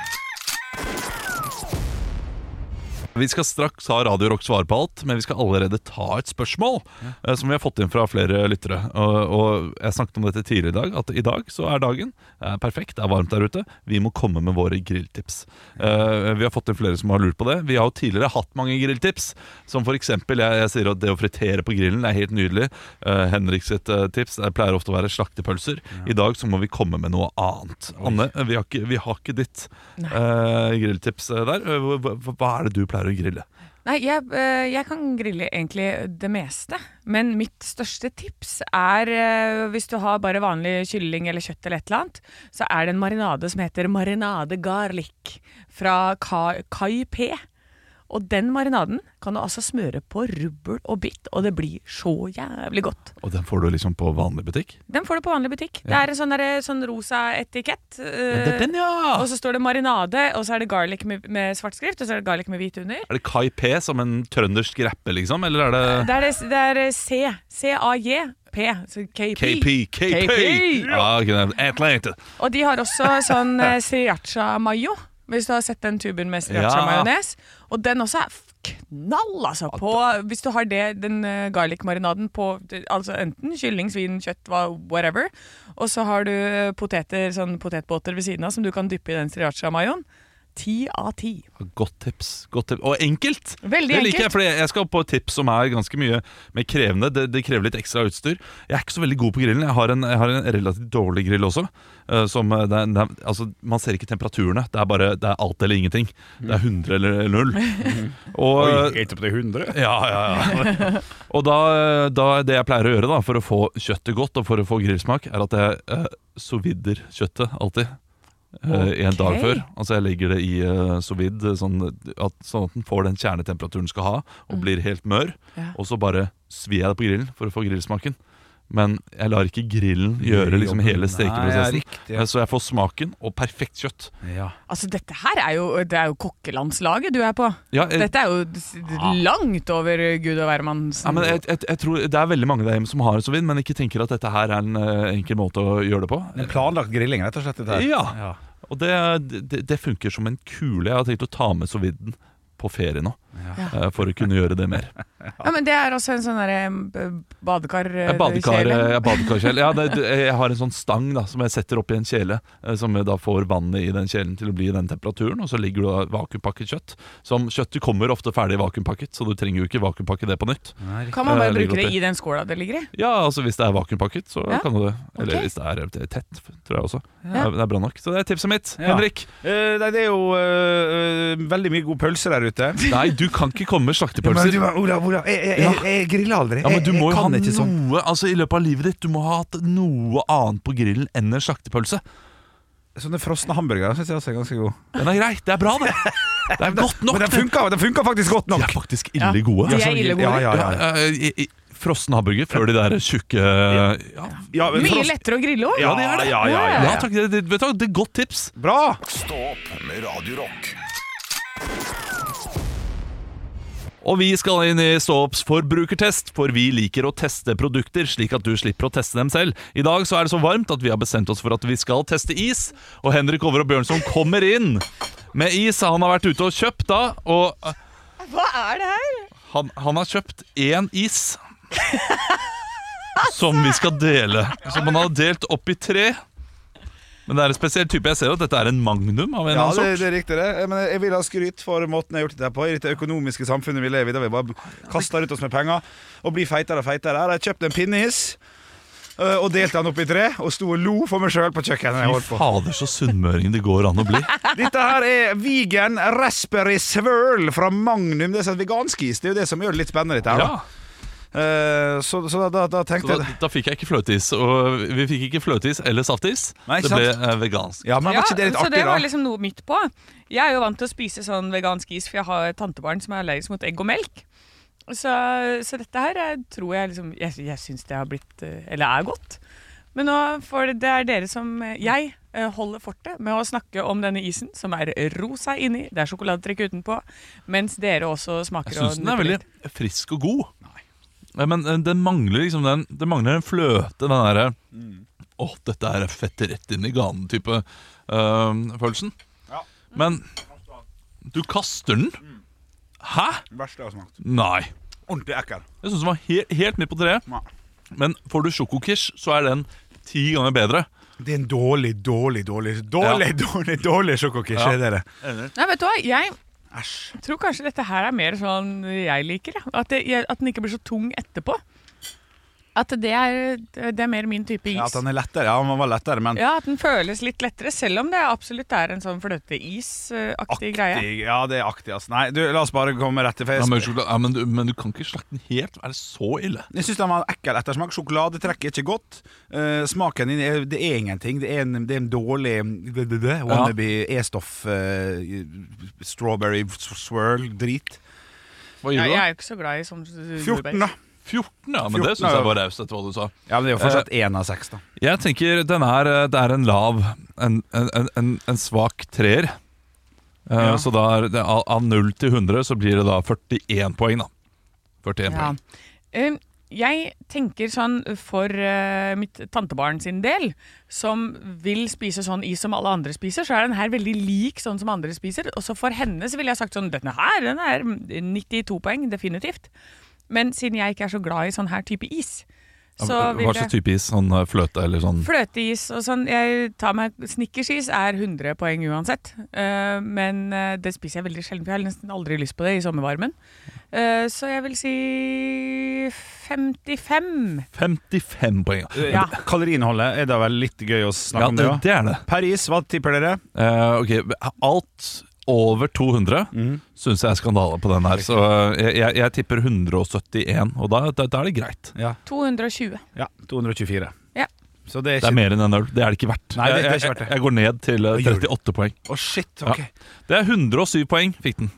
S2: Vi skal straks ha Radio Rock svar på alt, men vi skal allerede ta et spørsmål eh, som vi har fått inn fra flere lyttere. Og, og jeg snakket om dette tidligere i dag, at i dag så er dagen eh, perfekt, det er varmt der ute. Vi må komme med våre grilltips. Eh, vi har fått inn flere som har lurt på det. Vi har jo tidligere hatt mange grilltips, som for eksempel, jeg, jeg sier at det å fritere på grillen er helt nydelig. Eh, Henrik sitt eh, tips det pleier ofte å være slaktepølser. I dag så må vi komme med noe annet. Anne, eh, vi har ikke, vi har ikke ditt eh, grilltips eh, der. Eh, Hva, hva- hva er det du pleier å grille?
S4: Nei, jeg, eh, jeg kan grille egentlig det meste, men mitt største tips er eh, hvis du har bare vanlig kylling eller kjøtt eller et eller annet, så er det en marinade som heter marinade garlic fra Ka Kai P. Og den marinaden kan du altså smøre på rubbel og bitt, og det blir så jævlig godt.
S2: Og den får du liksom på vanlig butikk?
S4: Den får du på vanlig butikk. Det er en sånn, derre- sånn rosa etikett. eh,
S2: ja!
S4: Og så står det marinade, og så er det garlic med, med svart skrift, og så er det garlic med hvit under.
S2: Er det Kai P som en trøndersk rapper, liksom? Eller er det
S4: Det er, det, det er eh, C. C-A-J-P. så KP.
S2: KP? KP!
S4: KP.
S2: Ja, ok, det er Atlanta.
S4: Og de har også sånn eh, sriracha-mayo. Hvis du har sett den tuben med sriracha-majones. Og den også er f- knall, altså. På, hvis du har det, den eh, garlic-marinaden på det- altså enten kylling, svin, kjøtt, hva- whatever. Og så har du eh, poteter, sånn potetbåter ved siden av som du kan dyppe i den sriracha-mayoen. Ti av ti.
S2: Godt tips. godt tips Og enkelt!
S4: Veldig
S2: det liker jeg,
S4: enkelt.
S2: for jeg skal opp på et tips som er ganske mye mer krevende. Det, det krever litt ekstra utstyr. Jeg er ikke så veldig god på grillen. Jeg har en, jeg har en relativt dårlig grill også. eh, som, eh, det er, det er, altså, man ser ikke temperaturene. Det er bare det er alt eller ingenting. Det er 100 eller null. Og,
S3: Helt opp til 100?
S2: ja, ja, ja. Og da, da det jeg pleier å gjøre da, for å få kjøttet godt og for å få grillsmak, er at jeg eh, sovidder kjøttet alltid. eh, I en dag
S4: Ok.
S2: før. Altså Jeg legger det i eh, sovid, sånn at, sånn at den får den kjernetemperaturen den skal ha, og blir helt mør.
S4: Ja.
S2: Og så bare svir jeg det på grillen for å få grillsmaken. Men jeg lar ikke grillen gjøre liksom hele
S3: Nei, ja,
S2: stekeprosessen. Eh,
S3: riktig, ja.
S2: Så jeg får smaken og perfekt kjøtt.
S3: Ja.
S4: Altså, dette her er jo, det er jo kokkelandslaget du er på.
S2: Ja, eh,
S4: Dette er jo s- langt over gud og hvermannsen.
S2: Ja, men eh, jeg, jeg, jeg tror Det er veldig mange der hjemme som har sovin, men ikke tenker at dette her er en eh, enkel måte å gjøre det på.
S3: En planlagt grilling, rett og slett. Dette her.
S2: Ja. Og det, det, det funker som en kule. Jeg har tenkt å ta med soviden på ferie nå. eh, For å kunne gjøre det mer.
S4: Ja, men Det er også en sånn derre eh, badekar... eh,
S2: Jeg Badekar,
S4: kjele.
S2: jeg badekar ja, det, det- jeg har en sånn stang da, som jeg setter oppi en kjele, eh, som da får vannet i den kjelen til å bli i den temperaturen. Og så ligger det da vakuumpakket kjøtt. Som Kjøttet kommer ofte ferdig vakuumpakket, så du trenger jo ikke vakuumpakke det på nytt.
S4: Kan man bare
S2: Eh, ligger
S4: bruke det
S2: oppi.
S4: i den skåla det ligger i?
S2: Ja, altså hvis det er vakuumpakket, så
S4: Ja,
S2: kan du det. Eller
S4: ok.
S2: hvis det er eh, tett, tror jeg også.
S4: Ja.
S2: Det er bra nok. Så det er tipset mitt.
S3: Ja.
S2: Henrik.
S3: Eh, nei, det er jo eh, eh, veldig mye god pølse der ute.
S2: Nei, du kan ikke komme med slaktepølser.
S3: Men du, Olav, Olav, jeg, jeg, jeg, jeg griller aldri.
S2: Ja, men du
S3: Jeg-
S2: må
S3: jeg
S2: jo ha
S3: kan
S2: noe
S3: ikke sånn.
S2: altså, i løpet av livet ditt. Du må ha hatt noe annet på grillen enn en slaktepølse.
S3: sånne frosne hamburgere syns jeg også er ganske gode.
S2: Den er grei. Det er bra, det. Det er godt nok.
S3: Men den
S2: det.
S3: funka, den funka faktisk godt nok!
S2: De er faktisk ille gode.
S4: De er ille gode.
S3: Ja, ja, ja, ja.
S2: Ja, eh, i- i- Frossen hamburger før de der tjukke Ja,
S3: Ja, men
S4: Mye
S3: frost-
S4: lettere å grille òg.
S2: ja det er det.
S3: Ja, ja, ja, ja.
S2: Ja, takk, det, det, vet du, hva, det er et godt tips.
S3: Bra!
S1: Stå opp med Radio Rock.
S2: Og vi skal inn i Ståops forbrukertest, for vi liker å teste produkter slik at du slipper å teste dem selv. I dag så er det så varmt at vi har bestemt oss for at vi skal teste is, og Henrik Over og Bjørnson kommer inn med is han har vært ute og kjøpt da, og eh,
S4: Hva er det her?
S2: han, han har kjøpt én is som vi skal dele. Som han har delt opp i tre. Men det er en spesiell type. Jeg ser jo at dette er en magnum av
S3: Ja,
S2: en eller
S3: det,
S2: annen
S3: det
S2: sort.
S3: er riktig, det. Men jeg vil ha skryt for måten jeg har gjort dette på. I dette økonomiske samfunnet vi lever i, der vi bare kaster rundt oss med penger og blir feitere og feitere. Her har jeg kjøpt en pinnehis øh, og delte den opp i tre, og sto og lo for meg sjøl på kjøkkenet. Jeg
S2: Fy
S3: holdt på.
S2: fader, så sunnmøring det går an å bli.
S3: Dette her er vegan raspberry swirl fra Magnum. Det er sånn vegansk is. Det er jo det som gjør det litt spennende. Dette her, da.
S2: Ja.
S3: Eh, så, så da, da, da
S2: Så
S3: tenkte
S2: Da,
S3: jeg
S2: da fikk jeg ikke fløteis, og vi fikk ikke fløteis eller saftis.
S3: Nei, ikke
S2: det ble eh, vegansk.
S3: Ja, men var ikke det litt
S4: så det
S3: artig, da?
S4: var liksom noe midt på. Jeg er jo vant til å spise sånn vegansk is, for jeg har et tantebarn som er allergisk mot egg og melk. Så, så dette her eh, tror jeg liksom Jeg, jeg syns det har blitt eh, Eller er godt. Men nå får det, det er dere som eh, Jeg eh, holder fortet med å snakke om denne isen, som er rosa inni. Det er sjokoladetrekk utenpå. Mens dere også
S2: Jeg
S4: smaker
S2: syns den er
S4: nipper
S2: veldig
S4: litt.
S2: frisk og god. Ja, Men eh, den mangler liksom den Det mangler en fløte, den derre
S3: Mm.
S2: Å, dette er fett rett inn i ganen-type eh, følelsen. Men du kaster
S3: Mm.
S2: den? Hæ?
S3: Verste jeg har smakt.
S2: Nei.
S3: Ordentlig ekkel.
S2: Jeg syns den var he helt midt på treet.
S3: Nei.
S2: Men får du sjokokish, så er den ti ganger bedre.
S3: Det er en dårlig, dårlig, dårlig Dårlig, dårlig, dårlig sjokokish.
S2: Ja.
S3: er det det?
S4: Nei, vet du hva. Jeg
S3: Æsj.
S4: tror kanskje dette her er mer sånn jeg liker. Ja. At, det, jeg, at den ikke blir så tung etterpå. At det er, det er mer min type is.
S3: Ja, at han er lettere. Ja, han var lettere, men
S4: Ja, at den føles litt lettere, selv om det absolutt er en sånn fløteis-aktig greie.
S3: Aktig. Ja, det er aktig, ass. Nei, du, la oss bare komme rett til
S2: Ja,
S3: fest.
S2: men, sjokolade- ja, men, du, men du kan ikke slakte den helt. Er det så ille?
S3: Jeg syns den var ekkel ettersmak. Sjokoladetrekk er ikke godt. Eh, smaken din er, det er ingenting. Det er en, det er en dårlig det- det- det, wannabe E-stoff eh, strawberry swirl drit.
S2: Hva gir
S4: Ja,
S2: du
S4: jeg
S2: da?
S4: er jo ikke så glad i sånn
S3: 14, da.
S2: 14, ja, men det
S3: 14,
S2: syns jeg
S3: ja.
S2: var raust etter hva du sa.
S3: Ja, men det er jo fortsatt én av seks, da.
S2: Jeg tenker den er, det er en lav, en, en, en, en svak treer. Eh,
S3: Ja.
S2: Så da er det, av av 0 til 100 så blir det da 41 poeng, da. 41
S4: Ja.
S2: poeng.
S4: Um, jeg tenker sånn for eh, mitt tantebarn sin del, som vil spise sånn is som alle andre spiser, så er den her veldig lik sånn som andre spiser. Og så for henne så ville jeg sagt sånn Denne her den er 92 poeng, definitivt. Men siden jeg ikke er så glad i sånn her type is, så vil
S2: Hva
S4: jeg
S2: slags type is? Sånn eh, fløte eller sånn?
S4: Fløteis og sånn. Jeg tar meg Snickersis er 100 poeng uansett. Eh, men eh, det spiser jeg veldig sjelden, for jeg har nesten aldri lyst på det i sommervarmen. Eh, så jeg vil si 55.
S2: 55 poeng, ja.
S4: Ja.
S3: Kaloriinnholdet er da vel litt gøy å snakke
S2: ja
S3: om,
S2: det,
S3: det òg.
S2: det er det.
S3: Paris, hva tipper dere?
S2: Eh, ok, Alt over 200 syns jeg er skandale på den her. Så eh, jeg, jeg tipper 171, og da, da, da er det greit.
S3: Ja,
S4: 220.
S3: ja 224.
S4: Ja.
S3: Så det er
S2: Det
S3: ikke
S2: er mer enn en øl. Det er det ikke verdt.
S3: Nei, det- det er
S2: Jeg-
S3: ikke verdt det.
S2: Jeg, jeg går ned til eh,
S3: Hva gjør du?
S2: 38 poeng.
S3: Å, shit. Ok.
S2: Ja. Det er 107 poeng, fikk den.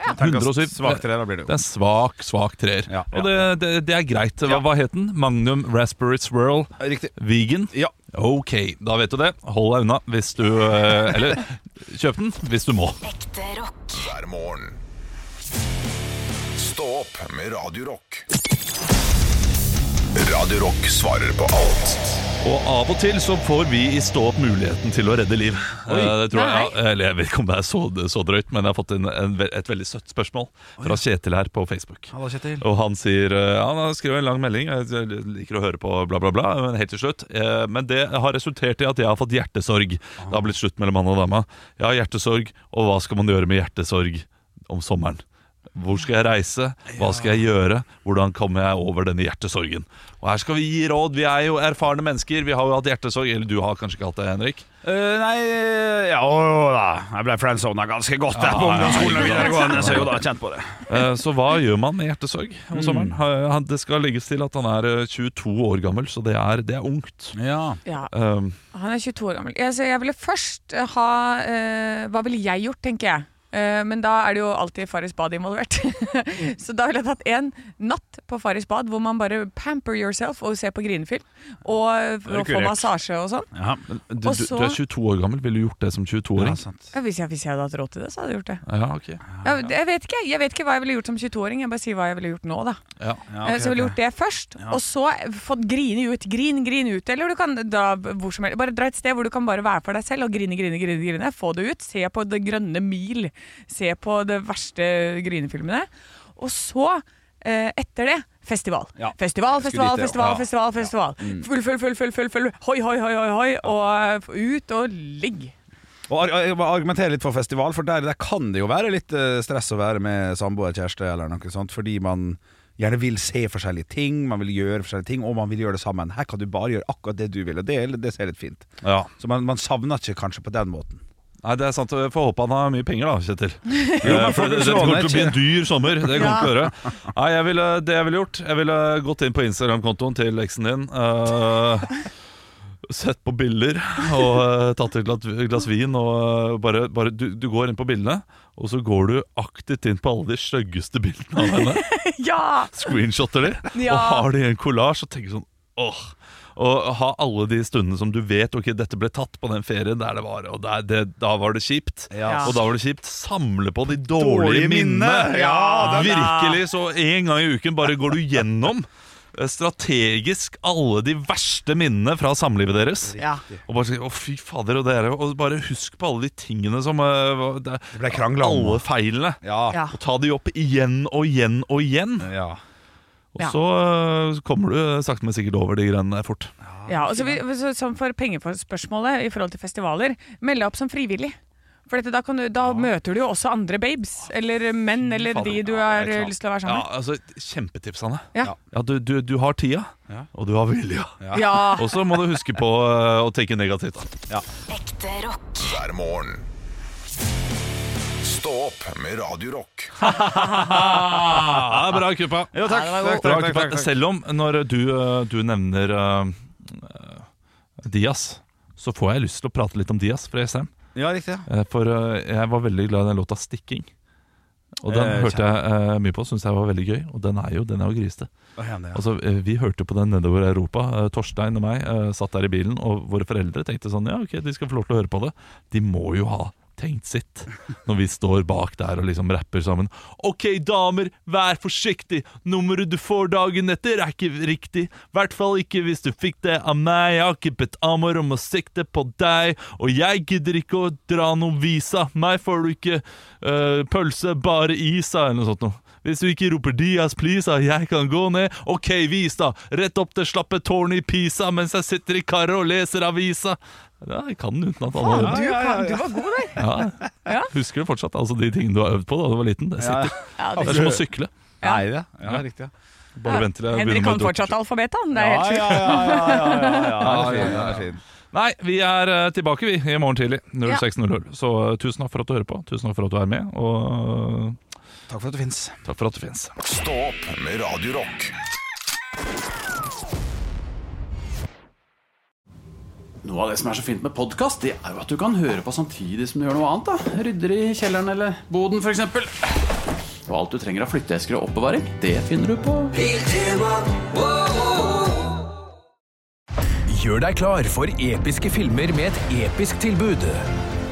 S3: Jeg tenker at
S2: 107.
S3: Svakt til det, da blir det
S2: Det
S3: jo.
S2: er en svak, svak treer.
S3: Ja,
S2: Og det, det, det er greit. Hva, hva het den? Magnum Raspberry Swirl
S3: Riktig.
S2: Vegan?
S3: Ja.
S2: Ok, da vet du det. Hold deg unna hvis du eh, Eller kjøp den hvis du må.
S6: Ekte rock.
S1: hver morgen. Stå opp med Radio Rock. Radio Rock svarer på alt
S2: Og av og til så får vi i stå opp muligheten til å redde liv. Eh, Det tror jeg, ja, eller jeg vet ikke om det er så, så drøyt, men jeg har fått en, en, ve- et veldig søtt spørsmål fra Kjetil her på Facebook.
S3: Halla, Kjetil.
S2: Og han sier eh, Han har skrevet en lang melding. Jeg liker å høre på bla, bla, bla. Men helt til slutt. eh, Men det har resultert i at jeg har fått hjertesorg. Det har blitt slutt mellom mann og dame. Jeg har hjertesorg, og hva skal man gjøre med hjertesorg om sommeren? Hvor skal jeg reise? Hva skal jeg gjøre? Hvordan kommer jeg over denne hjertesorgen? Og her skal vi gi råd. Vi er jo erfarne mennesker. Vi har jo hatt hjertesorg. Eller du har kanskje ikke hatt det, Henrik?
S3: Eh, nei eh, Ja, å, da. Jeg ble friendzona ganske godt der på
S2: Ja, ja, ja.
S3: ungdomsskolen og videregående, så jo da, kjent på det.
S2: Eh, Så hva gjør man med hjertesorg om sommeren? Eh, han- Det skal legges til at han er eh, 22 år gammel, så det er, det er ungt.
S3: Ja.
S4: Ja,
S2: Um,
S4: Han er 22 år gammel. Jeg, så jeg ville først ha eh, Hva ville jeg gjort, tenker jeg. Eh, men da er det jo alltid Farris bad involvert. så da ville jeg tatt en natt på Farris bad hvor man bare pamper yourself og ser på grinefilm. Og,
S3: er
S4: og får
S3: kurert.
S4: massasje og sånn.
S3: ja.
S2: du, du,
S4: Og så-
S2: du er 22 år gammel. Ville du gjort det som 22-åring?
S3: sant.
S4: Ja, Hvis jeg, hvis jeg hadde hatt råd til det, så hadde jeg gjort det.
S2: Ja, ok.
S4: Jeg, jeg, vet ikke, jeg vet ikke hva jeg ville gjort som 22-åring. Jeg bare sier hva jeg ville gjort nå, da.
S2: Ja.
S3: Ja,
S4: Eh,
S3: ok,
S4: så ville jeg
S3: ok.
S4: gjort det først, og så fått grine ut. Grin, grin ut. Eller du kan dra hvor som helst. Bare dra et sted hvor du kan bare være for deg selv og grine, grine, grine. grine. Få det ut. Se på Det grønne mil. Se på de verste grinefilmene. Og så, eh, etter det, festival.
S3: Ja.
S4: Festival,
S3: Jeg skulle
S4: festival,
S3: dit, ja.
S4: festival,
S3: Ja. Mm.
S4: festival. festival. Full, full, full, full, full, full. Hoi, hoi, hoi, hoi, hoi. Og eh, ut og ligg.
S3: Og ar ar- argumentere litt for festival, for der, der kan det jo være litt eh, stress å være med samboer, kjæreste eller noe sånt, fordi man gjerne vil se forskjellige ting, man vil gjøre forskjellige ting, og man vil gjøre det sammen. Her kan du bare gjøre akkurat det du vil, og det, det ser litt fint.
S2: ja.
S3: Så man, man savner ikke kanskje på den måten.
S2: Nei, det er sant. Jeg får håpe han har mye penger, da, Kjetil. Eh,
S3: men
S2: for
S3: folk
S2: det, det
S3: slår
S2: kommer
S3: ned,
S2: til å bli en
S3: ikke?
S2: dyr sommer. Det kommer til å gjøre. Nei, jeg ville, det jeg ville gjort Jeg ville gått inn på Instagram-kontoen til eksen din. eh, Sett på bilder og eh, tatt et glatt- glass vin. Og eh, bare, bare du, du går inn på bildene, og så går du aktivt inn på alle de styggeste bildene av henne
S4: Ja!
S2: screenshotter de,
S4: Ja.
S2: og har de en kollasj og tenker sånn åh. Og ha alle de stundene som du vet Ok, dette ble tatt på den ferien der det var, og der, det, da var det kjipt.
S4: Ja.
S2: Og da var det kjipt. Samle på de dårlige,
S3: Dårlige minnene.
S2: minnene!
S3: Ja, den
S4: er-
S2: Virkelig. Så en gang i uken bare går du gjennom eh, strategisk alle de verste minnene fra samlivet deres.
S4: ja.
S2: Og bare sier, å fy fader og dere Og bare husk på alle de tingene som eh, var- det,
S3: Det ble krangla om.
S2: Alle feilene.
S4: Ja.
S2: Og ta de opp igjen og igjen og igjen.
S3: Ja.
S2: Og
S4: Ja.
S2: så øh, kommer du øh, sakte, men sikkert over de greiene der fort.
S4: Ja, og så vi, så, Som for pengespørsmålet i forhold til festivaler, meld deg opp som frivillig. For dette, da, kan du, da møter du jo også andre babes, eller menn, eller
S2: fader.
S4: de du
S3: Ja,
S4: har
S3: det er klart.
S4: lyst til å være
S2: Ja,
S4: sammen med.
S2: altså, Kjempetips, Hanne.
S4: Ja.
S2: Ja, du, du, du har tida,
S3: Ja.
S2: og du har vilja.
S4: Ja.
S2: Og så må du huske på øh, å tenke negativt.
S6: Ekte rock.
S1: hver morgen. Stå opp med Radio Rock.
S2: Ah, bra kuppa!
S3: Jo, takk. takk,
S2: Bra
S3: takk, takk,
S2: kuppa.
S3: takk, takk.
S2: Selv om når du, øh, du nevner øh, øh, Dias, så får jeg lyst til å prate litt om Dias fra ESM.
S3: Ja, riktig. ja.
S2: Eh, For øh, jeg var veldig glad i den låta 'Stikking'. Og den
S3: Eh,
S2: hørte jeg øh, mye på, syntes jeg var veldig gøy. Og den er jo, den er jo grisete.
S3: Hva er det, ja.
S2: Altså, eh, Vi hørte på den nedover i Europa. Eh, Torstein og meg eh, satt der i bilen, og våre foreldre tenkte sånn Ja, ok, de skal få lov til å høre på det. De må jo ha tenkt sitt når vi står bak der og liksom rapper sammen. OK, damer, vær forsiktig. Nummeret du får dagen etter, er ikke riktig. I hvert fall ikke hvis du fikk det av meg. Jeg har ikke bedt Amor om å sikte på deg, og jeg gidder ikke å dra noen visa. Meg får du ikke eh, pølse, bare is, da, eller noe sånt noe. Hvis du ikke roper Dias please, da, jeg kan gå ned. Ok, vis da. Rett opp det slappe tårnet i Pisa mens jeg sitter i karet og leser avisa. Ja, jeg kan den utenat.
S4: Du,
S2: Anna.
S4: kan, du var god der!
S2: Ja. Husker du fortsatt altså de tingene du har øvd på da du var liten? Det sitter.
S4: Ja,
S2: Det er som å sykle.
S3: Nei, det. Ja, riktig. Ja.
S2: Bare vent til jeg
S4: Henrik
S2: begynner
S4: kan
S2: med doktor.
S4: fortsatt alfabetet, han. Det er helt
S3: ja, ja, ja, ja, ja, ja, ja, ja, ja.
S2: Nei, vi er eh, tilbake vi i morgen tidlig. 06.00. Så eh, tusen takk for at du hører på. Tusen takk for at du er med, og eh,
S3: Takk for at du fins.
S2: takk for at du fins.
S1: Stå opp med Radio Rock.
S8: Noe av det som er så fint med podkast, det er jo at du kan høre på samtidig som du gjør noe annet. da Rydder i kjelleren eller boden, f.eks. Og alt du trenger av flytteesker og oppbevaring, det finner du på
S9: Gjør deg klar for episke filmer med et episk tilbud.